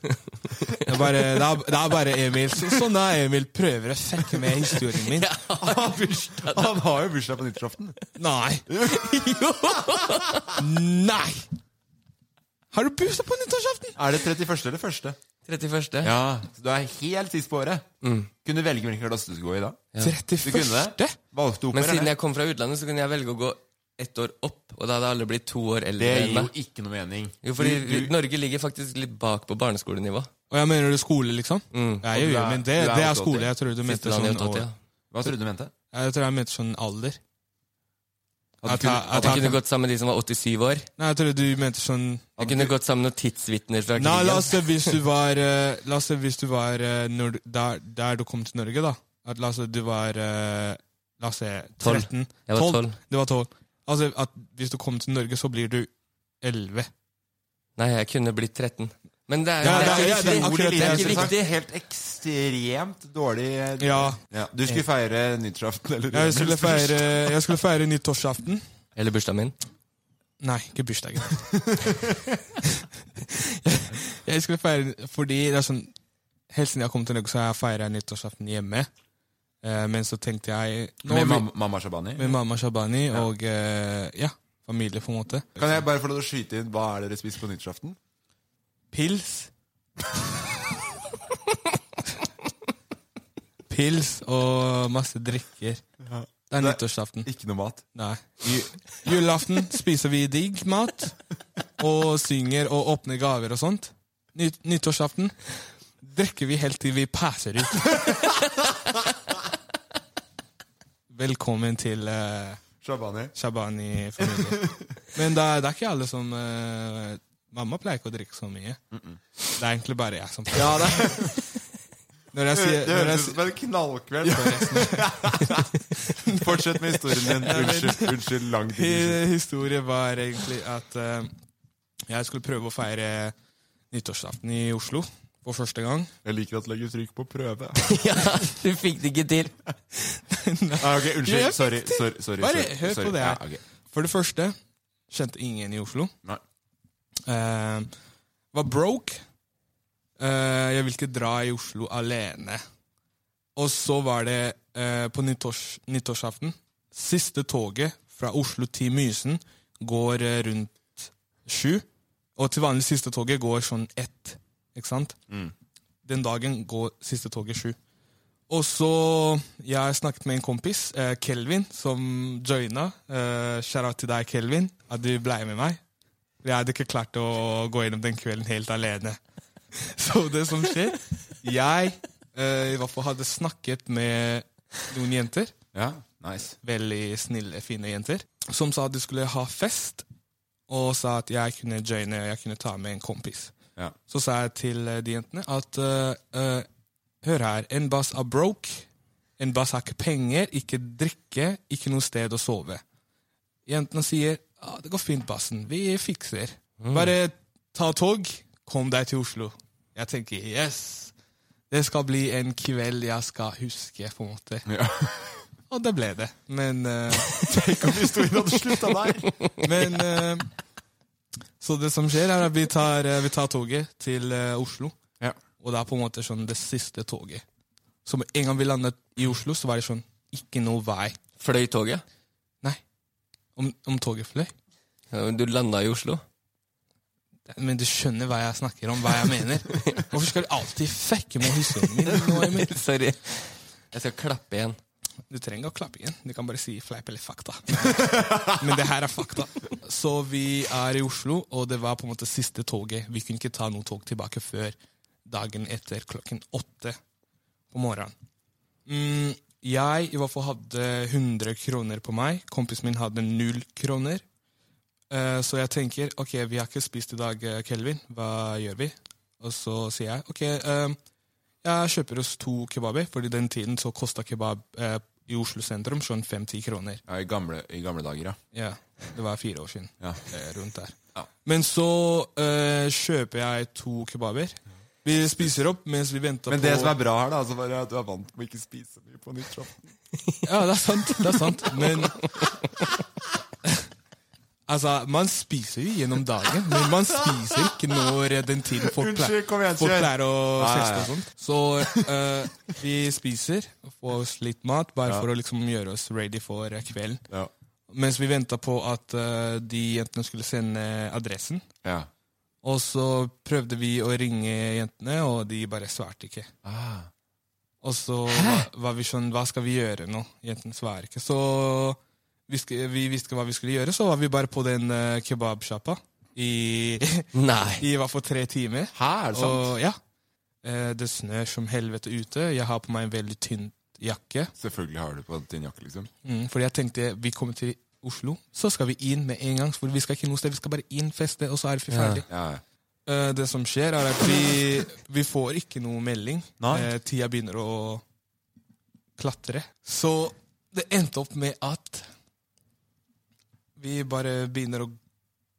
Det er bare, det er, det er bare Emil. Så, sånn er Emil. Prøver å fucke med historien min. Han har jo bursdag på nyttårsaften. Nei. Nei! Har du bursdag på nyttårsaften? Er det 31. eller 1.? 31. Ja, så du er helt sist på året. Kunne du velge hvilken klasse du skulle gå i da? Du kunne 31.? det? Valgte Men siden operaen? jeg kom fra utlandet, så kunne jeg velge å gå ett år opp, og da hadde alle blitt to år Det eldre gir enn jo meg. ikke noe mening. Jo, fordi vi, Norge ligger faktisk litt bak på barneskolenivå. Og jeg mener du skole, liksom? Ja, Mm. Og jo, du jo, er- men det, du er det er 88. skole. Jeg tror du mente Siste land sånn i 88, år. ja. Hva trodde du mente? Jeg tror jeg mente sånn alder. At At du kunne, jeg- at at du jeg- kunne gått sammen med de som var 87 år? Nei, jeg trodde du mente sånn Jeg kunne gått sammen med noen tidsvitner fra krigen. Nei, la oss se hvis du var, eh, la oss se hvis du var eh, når, du- der, der du kom til Norge, da. At, la oss se, du var eh, La oss se Tolv. 13. Jeg var tolv. Du var 12. Altså, at hvis du kom til Norge, så blir du 11. Nei, jeg kunne blitt 13. Men det er, Ja, det er, det er- ikke det er viktig. akkurat Det er Helt ikke viktig. Helt ekstremt dårlig eh, Ja. Du skulle feire nyttårsaften, eller? Eh. Jeg skulle feire, jeg skulle feire nyttårsaften. Eller bursdagen min. Nei, ikke bursdagen. jeg skulle feire Fordi det er sånn Helt siden jeg kom til Norge, så har jeg feira nyttårsaften hjemme. Eh, Men så tenkte jeg nå Med vil- mam- mamma Shabani? Med mamma Shabani og eh, ja, familie, på en måte. Kan jeg bare få lov til å skyte inn hva er dere spiser på nyttårsaften? Pils. Pils og masse drikker. Det er nyttårsaften. Ikke noe mat? Nei. Ju- Julaften spiser vi digg mat og synger og åpner gaver og sånt. Ny nyttårsaften drikker vi helt til vi passer ut. Velkommen til eh, Shabani? Shabani-familien. Men det er, det er ikke alle som eh, Mamma pleier ikke å drikke så mye. Det er egentlig bare jeg som pleier. Ja, det- Når jeg sier Det når jeg høres ut sier- som en knallkveld. Fortsett med historien din. Ja, men- Eh. Unnskyld, unnskyld lang digresjon. Hi- Historie var egentlig at eh, jeg skulle prøve å feire nyttårsaften i Oslo for første gang. Jeg liker at det legges trykk på prøve. Ja, du fikk det ikke til. Ah, ok, Jo, jeg unnskyld. fikk Sorry. det til. sorry, sorry Bare sorry, hør sorry. på det Ja, her. ok. For det første kjente ingen i Oslo. Nei. Eh, var broke. Eh, jeg vil ikke dra i Oslo alene. Og så var det eh, på nyttårs, nyttårsaften. Siste toget fra Oslo til Mysen går eh, rundt sju. Og til vanlig siste toget går sånn ett. Ikke sant? Den dagen går siste toget sju. Og så Jeg har snakket med en kompis, eh, Kelvin, som joina. Eh, Shout-out til deg, Kelvin, at du blei med meg. Jeg hadde ikke klart å gå gjennom den kvelden helt alene. Så det som skjer Jeg eh, i hvert fall hadde snakket med noen jenter. Ja, nice. Veldig snille, fine jenter. Som sa at de skulle ha fest, og sa at jeg kunne joine og jeg kunne ta med en kompis. Ja. Så sa jeg til eh, de jentene at eh, eh, Hør her, en bass er broke. En bass har ikke penger, ikke drikke, ikke noe sted å sove. Jentene sier ah, det går fint, bassen. Vi fikser. Mm. Bare ta tog, kom deg til Oslo. Jeg tenker yes! Det skal bli en kveld jeg skal huske, på en måte. Og det ble det. Men eh, Tenk om historien hadde slutta der! men eh, Så det som skjer, er at vi tar, eh, vi tar toget til eh, Oslo. Ja. Og det er på en måte sånn det siste toget. Så med en gang vi landet i Oslo, så var det sånn Ikke noe vei. Fløy toget? Nei. Om, om toget fløy. Ja, men Du landa i Oslo? Men du skjønner hva jeg snakker om, hva jeg mener. Hvorfor skal du alltid fucke med historien min? nå, Emil? Sorry. Jeg skal klappe igjen. Du trenger å klappe igjen. Du kan bare si fleip eller fakta. Men det her er fakta. Så vi er i Oslo, og det var på en måte siste toget. Vi kunne ikke ta noe tog tilbake før dagen etter klokken åtte på morgenen. Mm, jeg i hvert fall hadde 100 kroner på meg. Kompisen min hadde null kroner. Eh, så jeg tenker ok, vi har ikke spist i dag, eh, Kelvin. Hva gjør vi? Og så sier jeg ok, eh, jeg kjøper oss to kebaber, fordi den tiden så kosta kebab eh, i Oslo sentrum sånn 5-10 kroner. Ja, i, gamle, I gamle dager, ja. Ja, Det var fire år siden. Ja. Eh, rundt der. Ja. Men så eh, kjøper jeg to kebaber. Vi spiser opp mens vi venter Men på det som er bra her, da, altså, bare at du er vant med å ikke spise mye på nyttårsaften. Ja, det er sant. Det er sant. Men Altså, man spiser jo gjennom dagen, men man spiser ikke når den tiden folk pleier, Unnskyld, kom igjen, folk kjør. pleier å Ja, ja, feste og ja. sånt. Så eh, vi spiser, får oss litt mat, bare for å liksom gjøre oss ready for eh, kvelden. Ja. Mens vi venta på at eh, de jentene skulle sende adressen. Ja. Og så prøvde vi å ringe jentene, og de bare svarte ikke. Og så var, var vi sånn, hva skal vi gjøre nå? Jentene svarer ikke. Så vi, sk vi visste ikke hva vi skulle gjøre, så var vi bare på den uh, kebabsjappa i, Nei. i hvert fall tre timer. Her, er det sant? Og ja, Eh, det snør som helvete ute. Jeg har på meg en veldig tynn jakke. Selvfølgelig har du på en tynn jakke, liksom. Mm, fordi jeg tenkte vi kommer til Oslo, så skal vi inn med en gang. For vi skal ikke noe sted, vi skal bare inn, feste, og så er vi ferdig. Eh, det som skjer, er at vi, vi får ikke noe melding. Nei. Eh, tida begynner å klatre. Så det endte opp med at vi bare begynner å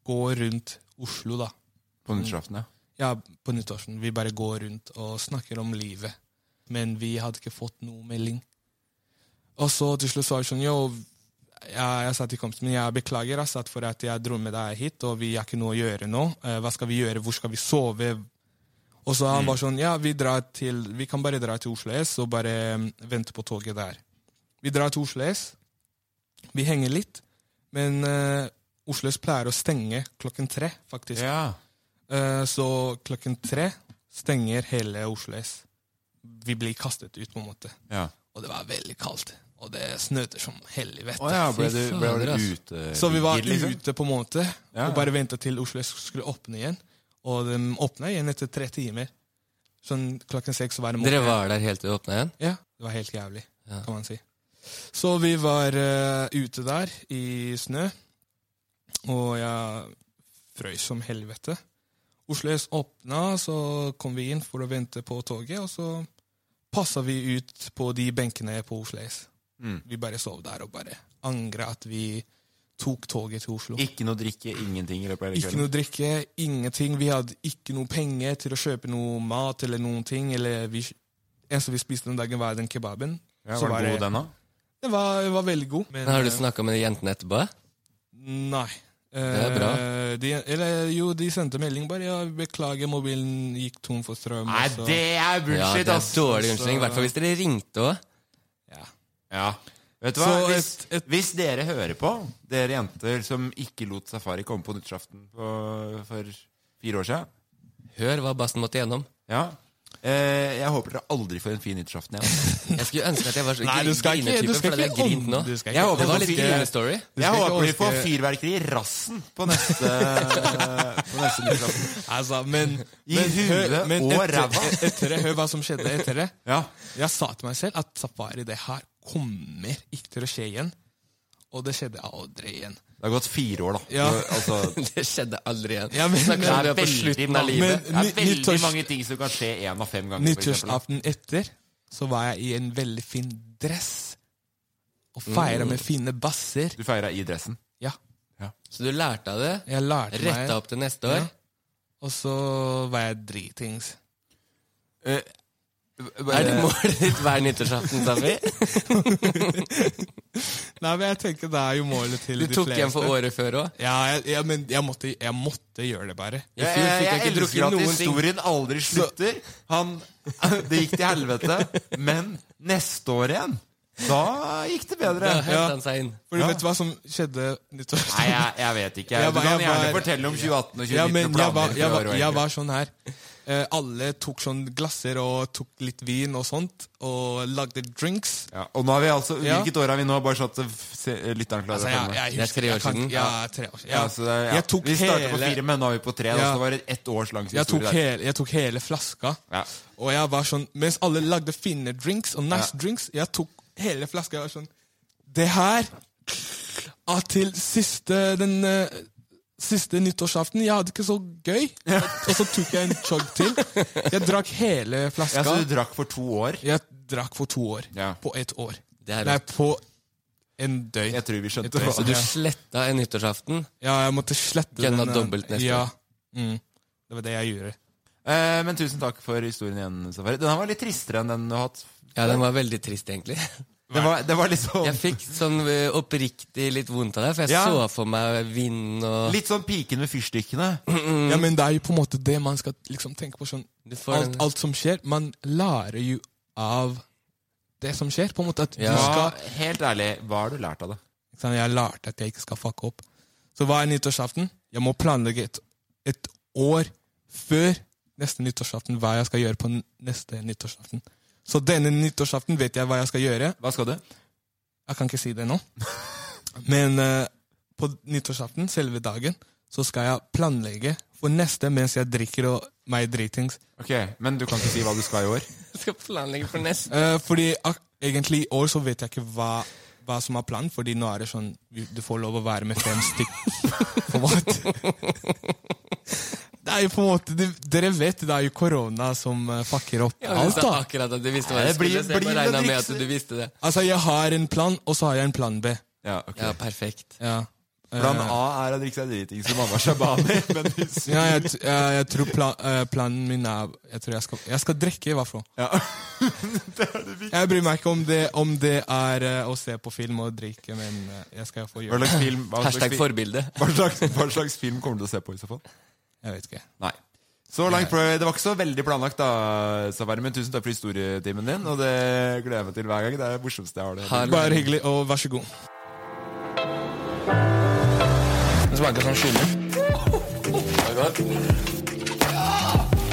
gå rundt Oslo, da. På nyttårsaften, ja. Ja, på nyttårsaften. Vi bare går rundt og snakker om livet. Men vi hadde ikke fått noe melding. Og så til slutt sa jeg sånn, jo, jeg, jeg sa til kompisen min, jeg beklager ass, at for at jeg dro med deg hit, og vi har ikke noe å gjøre nå. Eh, Hva skal vi gjøre? Hvor skal vi sove? Og så han Mm. var sånn, ja, vi, drar til, vi kan bare dra til Oslo S og bare mm, vente på toget der. Vi drar til Oslo S, vi henger litt, men eh, Oslo S pleier å stenge klokken tre, faktisk. Eh, så klokken tre stenger hele Oslo S. Vi blir kastet ut, på en måte. Ja. Og det var veldig kaldt. Og det snøter som helvete. Å ja, ble Fy du- ble fader, du ass. ute- Så vi var ligger, liksom? ute, på en måte, Ja, og ja. bare venta til Oslo S skulle åpne igjen. Og de åpna igjen etter tre timer. Sånn klokken seks var det Dere var der helt til det åpna igjen? Ja. Det var helt jævlig, kan man si. Så vi var eh, ute der i snø, og jeg frøys som helvete. Oslo S åpna, så kom vi inn for å vente på toget, og så passa vi ut på de benkene på Oslo S. Mm. Vi bare sov der og bare angra at vi tok toget til Oslo. Ikke noe drikke, ingenting i løpet av hele Ikke noe drikke, ingenting. Vi hadde ikke noe penger til å kjøpe noe mat eller noen ting. Eller vi, eneste vi spiste den dagen, var den kebaben. Ja, Så var den god, den da? Den var, den var veldig god. Men, Men har du eh, snakka med de jentene etterpå? Nei. Det er bra. Eh, De, eller jo, de sendte melding bare ja, 'Beklager, mobilen gikk tom for strøm'. altså. Nei, og så- det er Ja, bullshit, det er ass! dårlig unnskyldning, i hvert fall hvis dere ringte òg. Ja. Vet du hva? Så Hvis, hvis dere hører på, dere jenter som ikke lot Safari komme på nyttårsaften for, for fire år siden Hør hva bassen måtte gjennom. Ja. Eh, jeg håper dere aldri får en fin nyttårsaften igjen. Jeg skulle ønske at jeg var så Nei, du skal ikke- grinetype, du skal for det er ikke grint om- nå. du skal ikke Jeg håper det var overraske- litt grinestory. Du skal Jeg ikke håper vi får overraske- fyrverkeri i rassen på neste, på neste nyttårsaften. Altså, men, I men, huet hør- men og etter- e-, ræva. Etter det, hør hva som skjedde etter det. Jeg sa til meg selv at safari, det her kommer ikke til å skje igjen. Og det skjedde aldri igjen. Det har gått fire år, da. Ja. Du- Altså, det skjedde aldri igjen. Ja, men- det men- er på veldig, slutten av mange, livet. det er Men ny- veldig nyttårs- mange ting som kan skje én av fem ganger. for eksempel, da. Nyttårsaften etter så var jeg i en veldig fin dress og feira Mm. med fine basser. Du feira i dressen? Ja. Så du lærte av det? Jeg lærte meg- Retta opp til neste år? Ja. Og så var jeg dritings. Er Eh. det målet ditt hver nyttårsaften, Safi? Nei, men jeg tenker det er jo målet til Du de tok fleste. igjen for året før også? Ja, jeg, ja, men jeg måtte, jeg måtte gjøre det bare. Jeg, jeg, jeg, elsker at historien aldri slutter. Han, det gikk til helvete, men neste år igjen, da gikk det bedre. Fordi Ja. Vet du hva som skjedde nyttårsaften? Nei, jeg, jeg vet ikke. Jeg du var- kan jeg gjerne var- fortelle om 2018 og 2019 Ja, og men jeg planer var, jeg, for var, året, jeg egentlig. var sånn her. Eh, alle tok sånn glasser og tok litt vin og sånt, og lagde drinks. Ja, og nå er vi altså, Ja. Hvilket år er vi nå? Bare så at eh, se, lytteren klarer Altså, jeg- jeg husker- Det er tre år jeg kan- siden. ja, tre år Ja, siden. Ja. så det, er- ja. Jeg tok vi startet på hele- fire, men nå er vi på tre. Da, Ja. så det var et ett års lang Jeg tok, historie. der. hele, jeg tok hele flaska, og jeg var sånn Mens alle lagde fine drinks og nice drinks, jeg tok hele flaska. Jeg var sånn Det her ah, Til siste den eh, siste nyttårsaften Jeg hadde ikke så gøy. Og så tok jeg en chug til. Jeg drakk hele flaska. Ja, så du drakk for to år? Jeg drakk for to år. På ett år. Nei, på en døgn. Jeg tror vi skjønte Et døgn. Så du Ja. sletta en nyttårsaften? Ja, jeg måtte slette Gønna den, eh, dobbelt neste ja. år. Mm. Det var det jeg gjorde. Eh, men tusen takk for historien igjen, Safari. Den her var litt tristere enn den du har hatt. Ja, den var veldig trist, egentlig. Det var, det var litt sånn Jeg fikk sånn eh, oppriktig litt vondt av det, for jeg Ja. så for meg vind og Litt sånn piken med fyrstikkene. Ja, men det er jo på en måte det man skal liksom tenke på. sånn Mm. får alt, den- alt som skjer. Man lærer jo av det som skjer. på en måte at Ja, du skal, Helt ærlig, hva har du lært av det? ikke sant, Jeg lærte at jeg ikke skal fucke opp. Så hva er nyttårsaften? Jeg må planlegge et, et år før neste nyttårsaften hva jeg skal gjøre på n- neste nyttårsaften. Så denne nyttårsaften vet jeg hva jeg skal gjøre. Hva skal du? Jeg kan ikke si det nå. Men eh, på nyttårsaften, selve dagen, så skal jeg planlegge for neste mens jeg drikker og meg dritings. Ok, Men du kan ikke si hva du skal i år? Jeg skal planlegge for neste. Eh, fordi ak egentlig i år så vet jeg ikke hva hva som er planen, fordi nå er det sånn vi- Du får lov å være med fem stykk. På en måte. Det er jo på en måte det- Dere vet det er jo korona som eh, fucker opp Ja, du alt, sa da. akkurat at du visste hva jeg Det blir- skulle si. Jeg blir bare regnet det med at drikkse- du visste det. Altså, jeg har en plan, og så har jeg en plan B. Ja, ok. Ja, perfekt. Ja. Plan Eh, A er å drikke seg driting som mamma shabani. Men hvis Ja, jeg, t- ja, jeg tror pla- eh, planen min er Jeg tror jeg skal, jeg skal drikke, i hvert fall. jeg bryr meg ikke om det, om det er eh, å se på film og drikke, men eh, jeg skal Hva få gjøre slags film hva slags fi- Hva slags, hva slags film kommer du til å se på i så fall? Jeg vet ikke. Nei. Så langt fra, Det var ikke så veldig planlagt, da, Saveri, men tusen takk for historietimen din. Og det gleder jeg meg til hver gang. Det er det morsomste jeg har. det Bare hyggelig, og vær så god. Det smaker som skinne.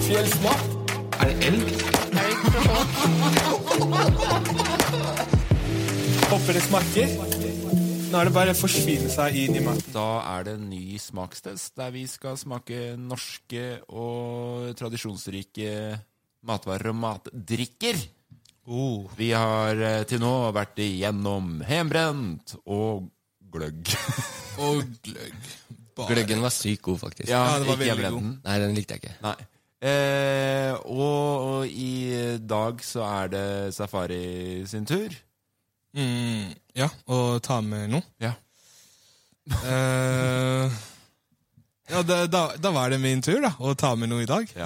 Fjellsmak. Er det elg? Håper det smaker. Nå er det bare å forsvinne seg inn i maten. Da er det en ny smakstest, der vi skal smake norske og tradisjonsrike matvarer og matdrikker. Oh. Vi har eh, til nå vært igjennom hembrent og gløgg. Og gløgg. Gløggen var sykt god, faktisk. Ja, Ja, den var ikke veldig hjemmebrenten. god. Nei, den likte jeg ikke. Nei. Eh, og, og i dag så er det Safari sin tur. Mm, ja, og ta med noe. Ja. Eh, ja, da, da, da var det min tur, da, å ta med noe i dag.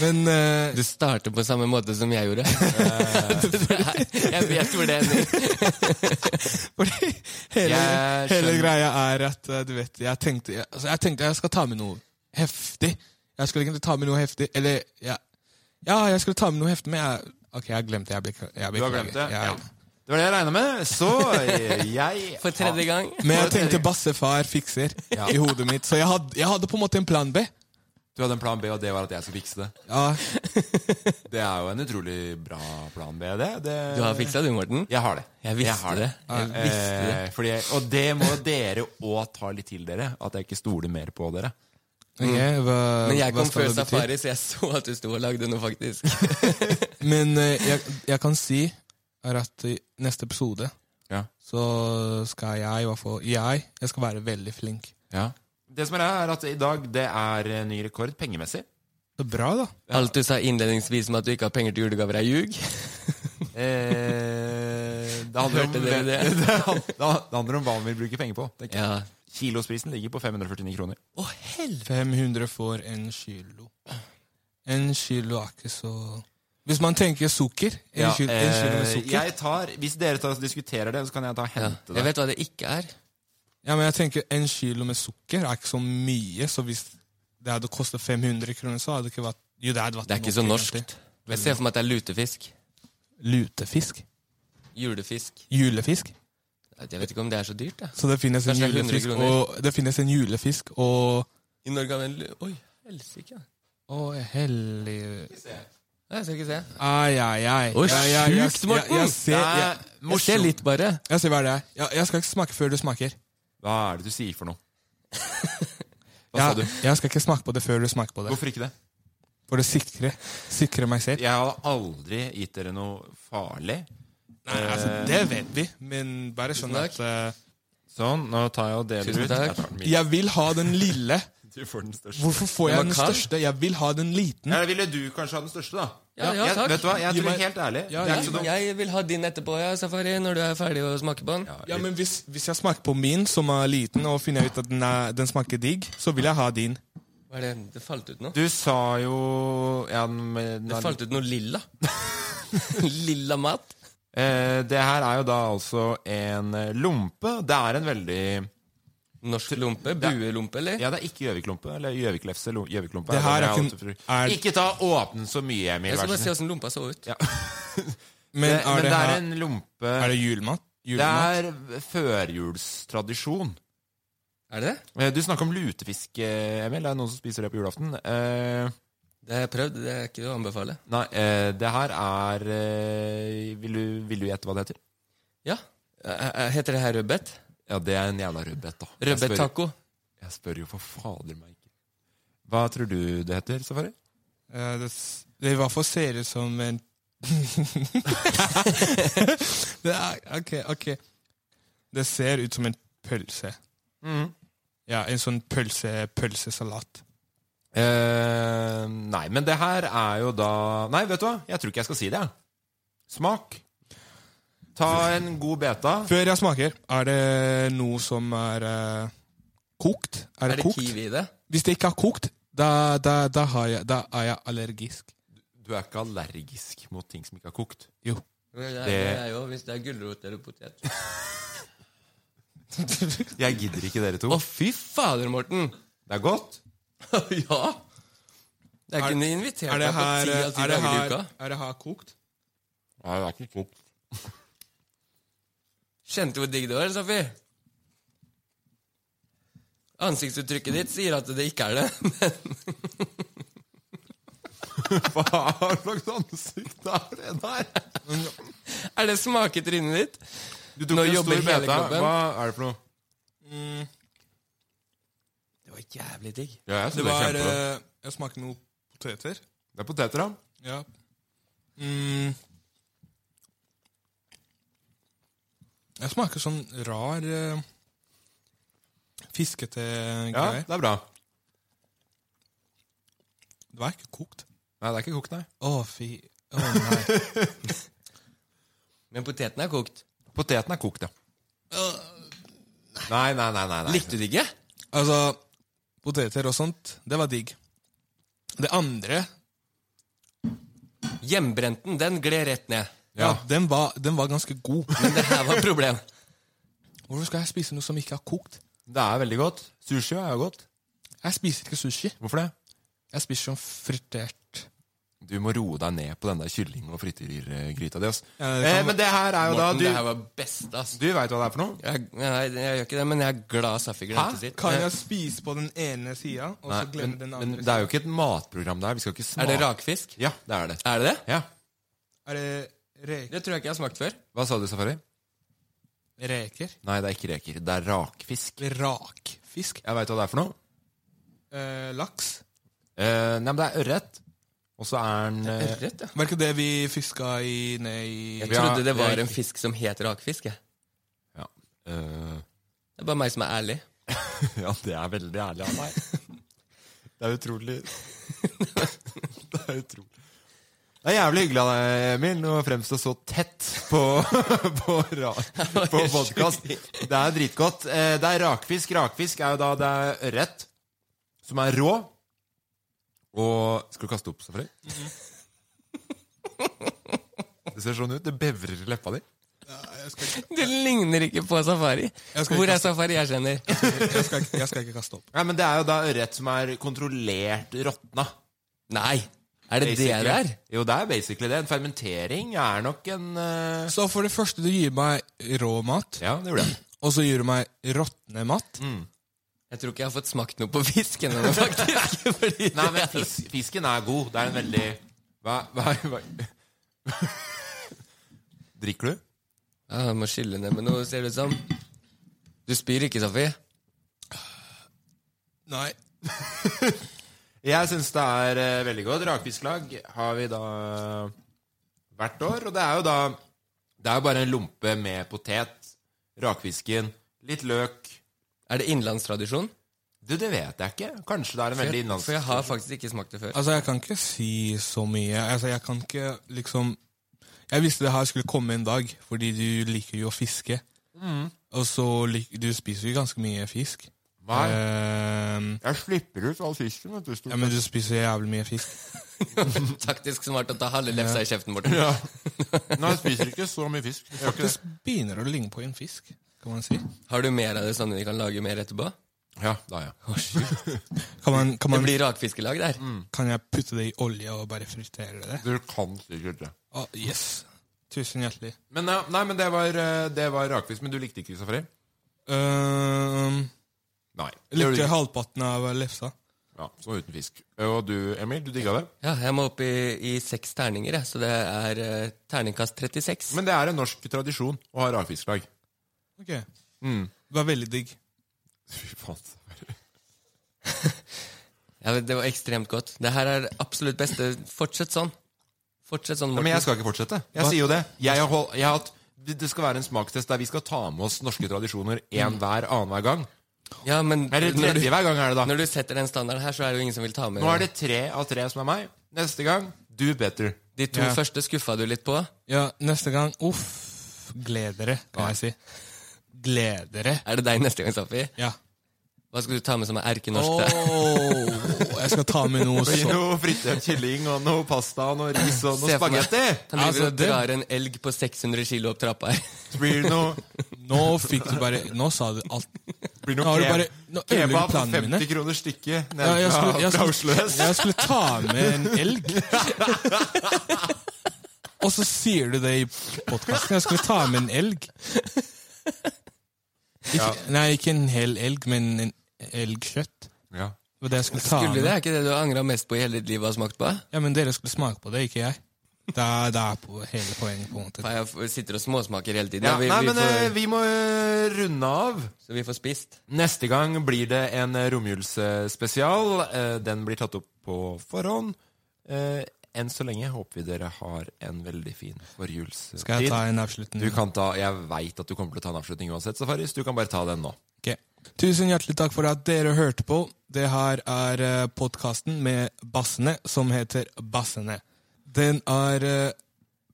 Men eh, Du starter på samme måte som jeg gjorde. jeg vet hvor det ender. Fordi Jeg hele, hele skjønner. greia er at eh, du vet, jeg tenkte jeg, altså, jeg tenkte jeg skal ta med noe heftig. Jeg skulle egentlig ta med noe heftig, eller ja, ja jeg skulle ta med noe heftig, men jeg, ok, jeg glemte jeg bekla- jeg Du har beklager. glemt det? Jeg- Ja. Det var det jeg regna med. Så eh, jeg For tredje gang. Men jeg tenkte bassefar fikser Ja. i hodet mitt, så jeg hadde, jeg hadde på en måte en plan B. Du hadde en plan B, og det var at jeg skulle fikse det. Ja. Mm. Det er jo en utrolig bra plan B, det. det Du har fiksa du, Morten. Jeg har det. Jeg visste har det. Jeg Eh, visste det. fordi jeg, og det må dere òg ta litt til dere. At jeg ikke stoler mer på dere. Ok, hva, Men jeg hva kom skal før det bety? Safari, så jeg så at du sto og lagde noe, faktisk. Men eh, jeg, jeg kan si er at i neste episode Ja. så skal jeg i hvert fall Jeg, jeg skal være veldig flink. Det som er, er at i dag det er eh, ny rekord pengemessig. Så bra, da. Alt du sa innledningsvis om at du ikke har penger til julegaver, er ljug. Eh, det, handler om, Hørte dere det? det? hand- det handler om hva man vil bruke penger på. tenker jeg. Ja. Kilosprisen ligger på 549 kroner. 500 for en kilo. En kilo er ikke så Hvis man tenker sukker En, Ja, kilo, en kilo med eh, sukker. Jeg tar, hvis dere tar, diskuterer det, så kan jeg ta og hente det. Jeg vet hva det ikke er. Ja, men jeg tenker En kilo med sukker er ikke så mye, så hvis det hadde kostet 500 kroner, så hadde det ikke vært Jo, det hadde vært Det er ikke så nok, norskt. egentlig. Jeg ser for meg at det er lutefisk. Lutefisk? Julefisk. Julefisk? Jeg vet ikke om det er så dyrt, da. Så det finnes en Kanskje det er 100 julefisk kroner. og, Det finnes en julefisk og I Norge har vi en lu- Oi, helsike. Å, hellig Nei, Jeg skal ikke se. Ai, ai, ai. Oi, Jeg- jeg- jeg- sjukt, Morten! Jeg, jeg, ser, Det jeg, er jeg ser morsomt. litt bare. Jeg ser hva det er. Jeg, jeg skal ikke smake før du smaker. Hva er det du sier for noe? Hva sa Jeg, du? jeg skal ikke smake på det før du smaker på det. Hvorfor ikke det? For å sikre, sikre meg selv. Jeg hadde aldri gitt dere noe farlig. Nei, altså, det vet vi, men bare sånn at eh, Sånn, nå tar jeg og deler Tusen ut. takk. Jeg tar den min. Jeg vil ha den lille. Du får den største. Hvorfor får jeg den største? Jeg vil ha den liten. Ja, ville du kanskje ha den største, da? Ja, ja, jeg, takk. Vet du hva, jeg Gi tror meg- helt ærlig Ja, det er ja. ikke så dumt. Jeg vil ha din etterpå, ja, Safari, når du er ferdig å smake på den. Ja, men hvis, hvis jeg smaker på min, som er liten, og finner ut at den, er, den smaker digg, så vil jeg ha din. Hva er det? Det falt ut nå? Du sa jo ja, den- Det falt ut noe lilla. lilla mat. Eh, det her er jo da altså en eh, lompe. Det er en veldig Norsk lompe? Buelompe, eller? Ja, det er ikke Gjøvik-lompe. Eller Gjøvik-lefse. lo- Gjøvik-lompe. Det er her det er jeg ikke- alltid tror. er- Ikke ta åpne så mye, Emil. Jeg vær så skal bare se snill. åssen lompa så ut. Ja. Men det, er men det det er her- en lompe Er det julemat? Det Julemat? er førjulstradisjon. Er det det? Eh, Du snakker om lutefisk, eh, Emil. Det er noen som spiser det på julaften. Eh, Det har jeg prøvd, det er ikke å anbefale. nei, eh, det her er eh, Vil du vil du gjette hva det heter? Ja. Eh, eh, Heter det her rødbet? Ja, det er en jævla rødbet, da. Jeg spør- Rødbettaco. Jeg spør jo for fader meg ikke. Hva tror du det heter, Safari? Eh, Det, s- det i hvert fall ser ut som en det er, ok, ok. Det ser ut som en pølse. Mm. Mhm. Ja, en sånn pølse, pølsesalat. Eh, nei, men det her er jo da Nei, vet du hva? Jeg tror ikke jeg skal si det. jeg. Smak. Ta en god beta. Før jeg smaker, er det noe som er eh, kokt? Er det, kokt? kiwi i det? Hvis det ikke er kokt, da, da, da, har jeg, da er jeg allergisk. Du er ikke allergisk mot ting som ikke er kokt. Jo. Det er, Det- det er jo hvis det er gulrot eller potet. Jeg gidder ikke dere to. Å, fy fader, Morten! Det er godt. ja! Jeg Er- kunne invitert er det deg på her- eh, ti av ti er det dager i her- uka. Er det her kokt? Nei, det er ikke kokt. Kjente du hvor digg det var, Safi? Ansiktsuttrykket ditt sier at det ikke er det, men Hva er slags ansikt er det der? Er det smak i trynet ditt? Du tok Nå en jobber stor hele beta. kroppen. Hva er det for noe? Det var jævlig digg. Ja, jeg Det synes det, var er kjempegodt. eh, Jeg smakte noen poteter. Det er poteter, da. Ja. Mm. Jeg smaker sånn rar eh, fiskete Ja, greier. det er bra. Det var ikke kokt. Nei, det er ikke kokt, nei. Å, fy Å, nei. Men poteten er kokt. Poteten er kokt, ja. Nei, nei, nei. nei, nei. Likte du det ikke? altså, poteter og sånt, det var digg. Det andre Hjemmebrenten, den gled rett ned. Ja, den, var, den var ganske god. Men det her var et problem. Hvorfor skal jeg spise noe som ikke er kokt? Det er veldig godt. Sushi er jo godt. Jeg spiser ikke sushi. Hvorfor det? Jeg spiser sånn fritert Du må roe deg ned på den der kylling- og frityrgryta di. ass. Ja, det kan eh, være- men det her er jo Morten, det da her var best, ass. Du, du veit hva det er for noe? Jeg, jeg, jeg gjør ikke det, men jeg er glad Safi Hæ? glemte sitt. Ah, Kan jeg spise på den ene sida, og så glemme men, den men andre? det er jo ikke et matprogram der. Vi skal ikke smake Er det rakfisk? Ja, det er det. Er det det? Ja. Er det re Det tror jeg ikke jeg har smakt før. Hva sa du, Safari? reker? Nei, det er ikke reker. Det er rakfisk. Rakfisk? Jeg veit hva det er for noe. Eh, laks? Eh, nei, men det er ørret. Og så er den eh, Ørret, ja. Var det ikke det vi fiska i ned i Jeg Ja, trodde det var jeg- en fisk som het rakfisk. Jeg. ja. Eh, Det er bare meg som er ærlig. ja, det er veldig ærlig av meg. Det er utrolig Det er utrolig. Det er jævlig hyggelig av deg, Emil, å fremstå så tett på, på, ra- på podkast. Det er dritgodt. Eh, Det er rakfisk. Rakfisk er jo da det er ørret som er rå. Og Skal du kaste opp, Safari? Det ser sånn ut. Det bevrer i leppa di. Det ligner ikke på safari. Jeg skal Hvor ikke er safari jeg kjenner? Jeg skal, ikke- jeg skal ikke kaste opp. Nei, men Det er jo da ørret som er kontrollert råtna. Nei! Er det det det er? Jo, det er basically det. En fermentering er nok en eh, Så for det første, du gir meg rå mat, Ja, det gjorde jeg. og så gir du meg råtne mat. Mm. Jeg tror ikke jeg har fått smakt noe på fisk ennå, faktisk. Fordi Nei, det men er- fis, fisken er god. Det er en veldig Hva, hva, hva? Drikker du? Ja, Ah, jeg må skylle ned med noe, ser det ut som. Du spyr ikke, Safi? Nei. Jeg syns det er eh, veldig godt. Rakfisklag har vi da hvert år. Og det er jo da Det er jo bare en lompe med potet, rakfisken, litt løk Er det innlandstradisjon? Du, det vet jeg ikke. Kanskje det er en For veldig jeg, innlands... for jeg har faktisk ikke smakt det før. Altså, jeg kan ikke si så mye. Altså, jeg kan ikke liksom Jeg visste det her skulle komme en dag, fordi du liker jo å fiske. Mm. Og så lik, Du spiser jo ganske mye fisk. Nei. Ehm, Eh, Jeg slipper ut all fisken, vet du. stort ja, men du spiser jævlig mye fisk. Taktisk smart å ta halve lefsa i kjeften, Morten. sett. Nei, jeg spiser ikke så mye fisk. Jeg gjør ikke det. Faktisk begynner å ligne på en fisk, kan man si. Har du mer av det sånne vi kan lage mer etterpå? Ja, da, ja. Kan, man, Det kan, man, blir rakfiskelag der. Mm. kan jeg putte det i olje og bare fritere det? Du kan sikkert det. Å, yes. Tusen hjertelig. Men, ja, nei, men det var, eh, det var rakfisk. Men du likte ikke safari? Ehm, Nei. Jeg Det gjorde du likte ikke. halvparten av lefsa. Ja, så uten fisk. Og du, Emil, du digga det? Ja, jeg må opp i, i seks terninger, jeg. Så det er eh, terningkast 36. Men det er en norsk tradisjon å ha rakfisklag. Ok. Mm. Det var veldig digg. Fy faen. Ja, det var ekstremt godt. Det her er absolutt beste. Fortsett sånn. Fortsett sånn, Ja, men jeg skal ikke fortsette. Jeg Hva? sier jo det. Jeg har, hold, jeg har hatt, det skal være en smakstest der vi skal ta med oss norske tradisjoner én hver annenhver gang. Ja, men Mm. Eller når du- tredje hver gang er det da. Når du setter den standarden her, så er det jo ingen som vil ta med Nå er det tre av tre som er meg. Neste gang do better. De to Ja. første skuffa du litt på. Ja, neste gang Uff. Gled dere, kan jeg si. Gled dere. Er det deg neste gang, Safi? Ja. Hva skal du ta med som er erkenorsk? da? Åh, jeg skal ta med noe Det sånn. blir så noe fritert kylling og noe pasta og noe ris og Se noe for meg. spagetti. Han driver og Altså, det- drar en elg på 600 kilo opp trappa her. Så blir det noe, Nå fikk du bare Nå sa du alt. blir det Nå noe har du keb- bare Nå ødelegger kebab du for planene 50 mine. kroner stykket Ja, jeg, ned fra, skulle, fra jeg, skulle, Oslo S. jeg skulle ta med en elg. Og så sier du det i podkasten. Jeg skulle ta med en elg. Ikke, Nei, ikke en hel elg, men en elgkjøtt. Ja. Det var det jeg skulle ta Skulle det? med. Er ikke det du har angra mest på i hele ditt liv og har smakt på? Ja, Men dere skulle smake på det, ikke jeg. Det er, det er på hele poenget. på en måte. Faen, Jeg f- sitter og småsmaker hele tiden. Ja, vi, nei, vi men eh, får, vi må eh, runde av. så vi får spist. Neste gang blir det en eh, romjulsspesial. Eh, Den blir tatt opp på forhånd. Eh, Enn så lenge håper vi dere har en veldig fin forjulstid. Skal jeg ta en avslutning? Du kan ta, Jeg veit at du kommer til å ta en avslutning uansett, Safaris. Du kan bare ta den nå. Ok. Tusen hjertelig takk for at dere hørte på. Det her er podkasten med Bassene, som heter Bassene. Den er eh,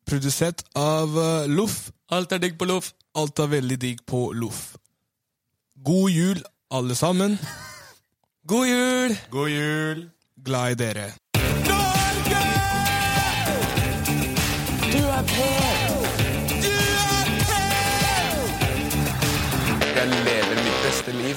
produsert av eh, Loff. Alt er digg på loff. Alt er veldig digg på Loff. God jul, alle sammen. God jul! God jul! Glad i dere. Jeg lever mitt beste liv.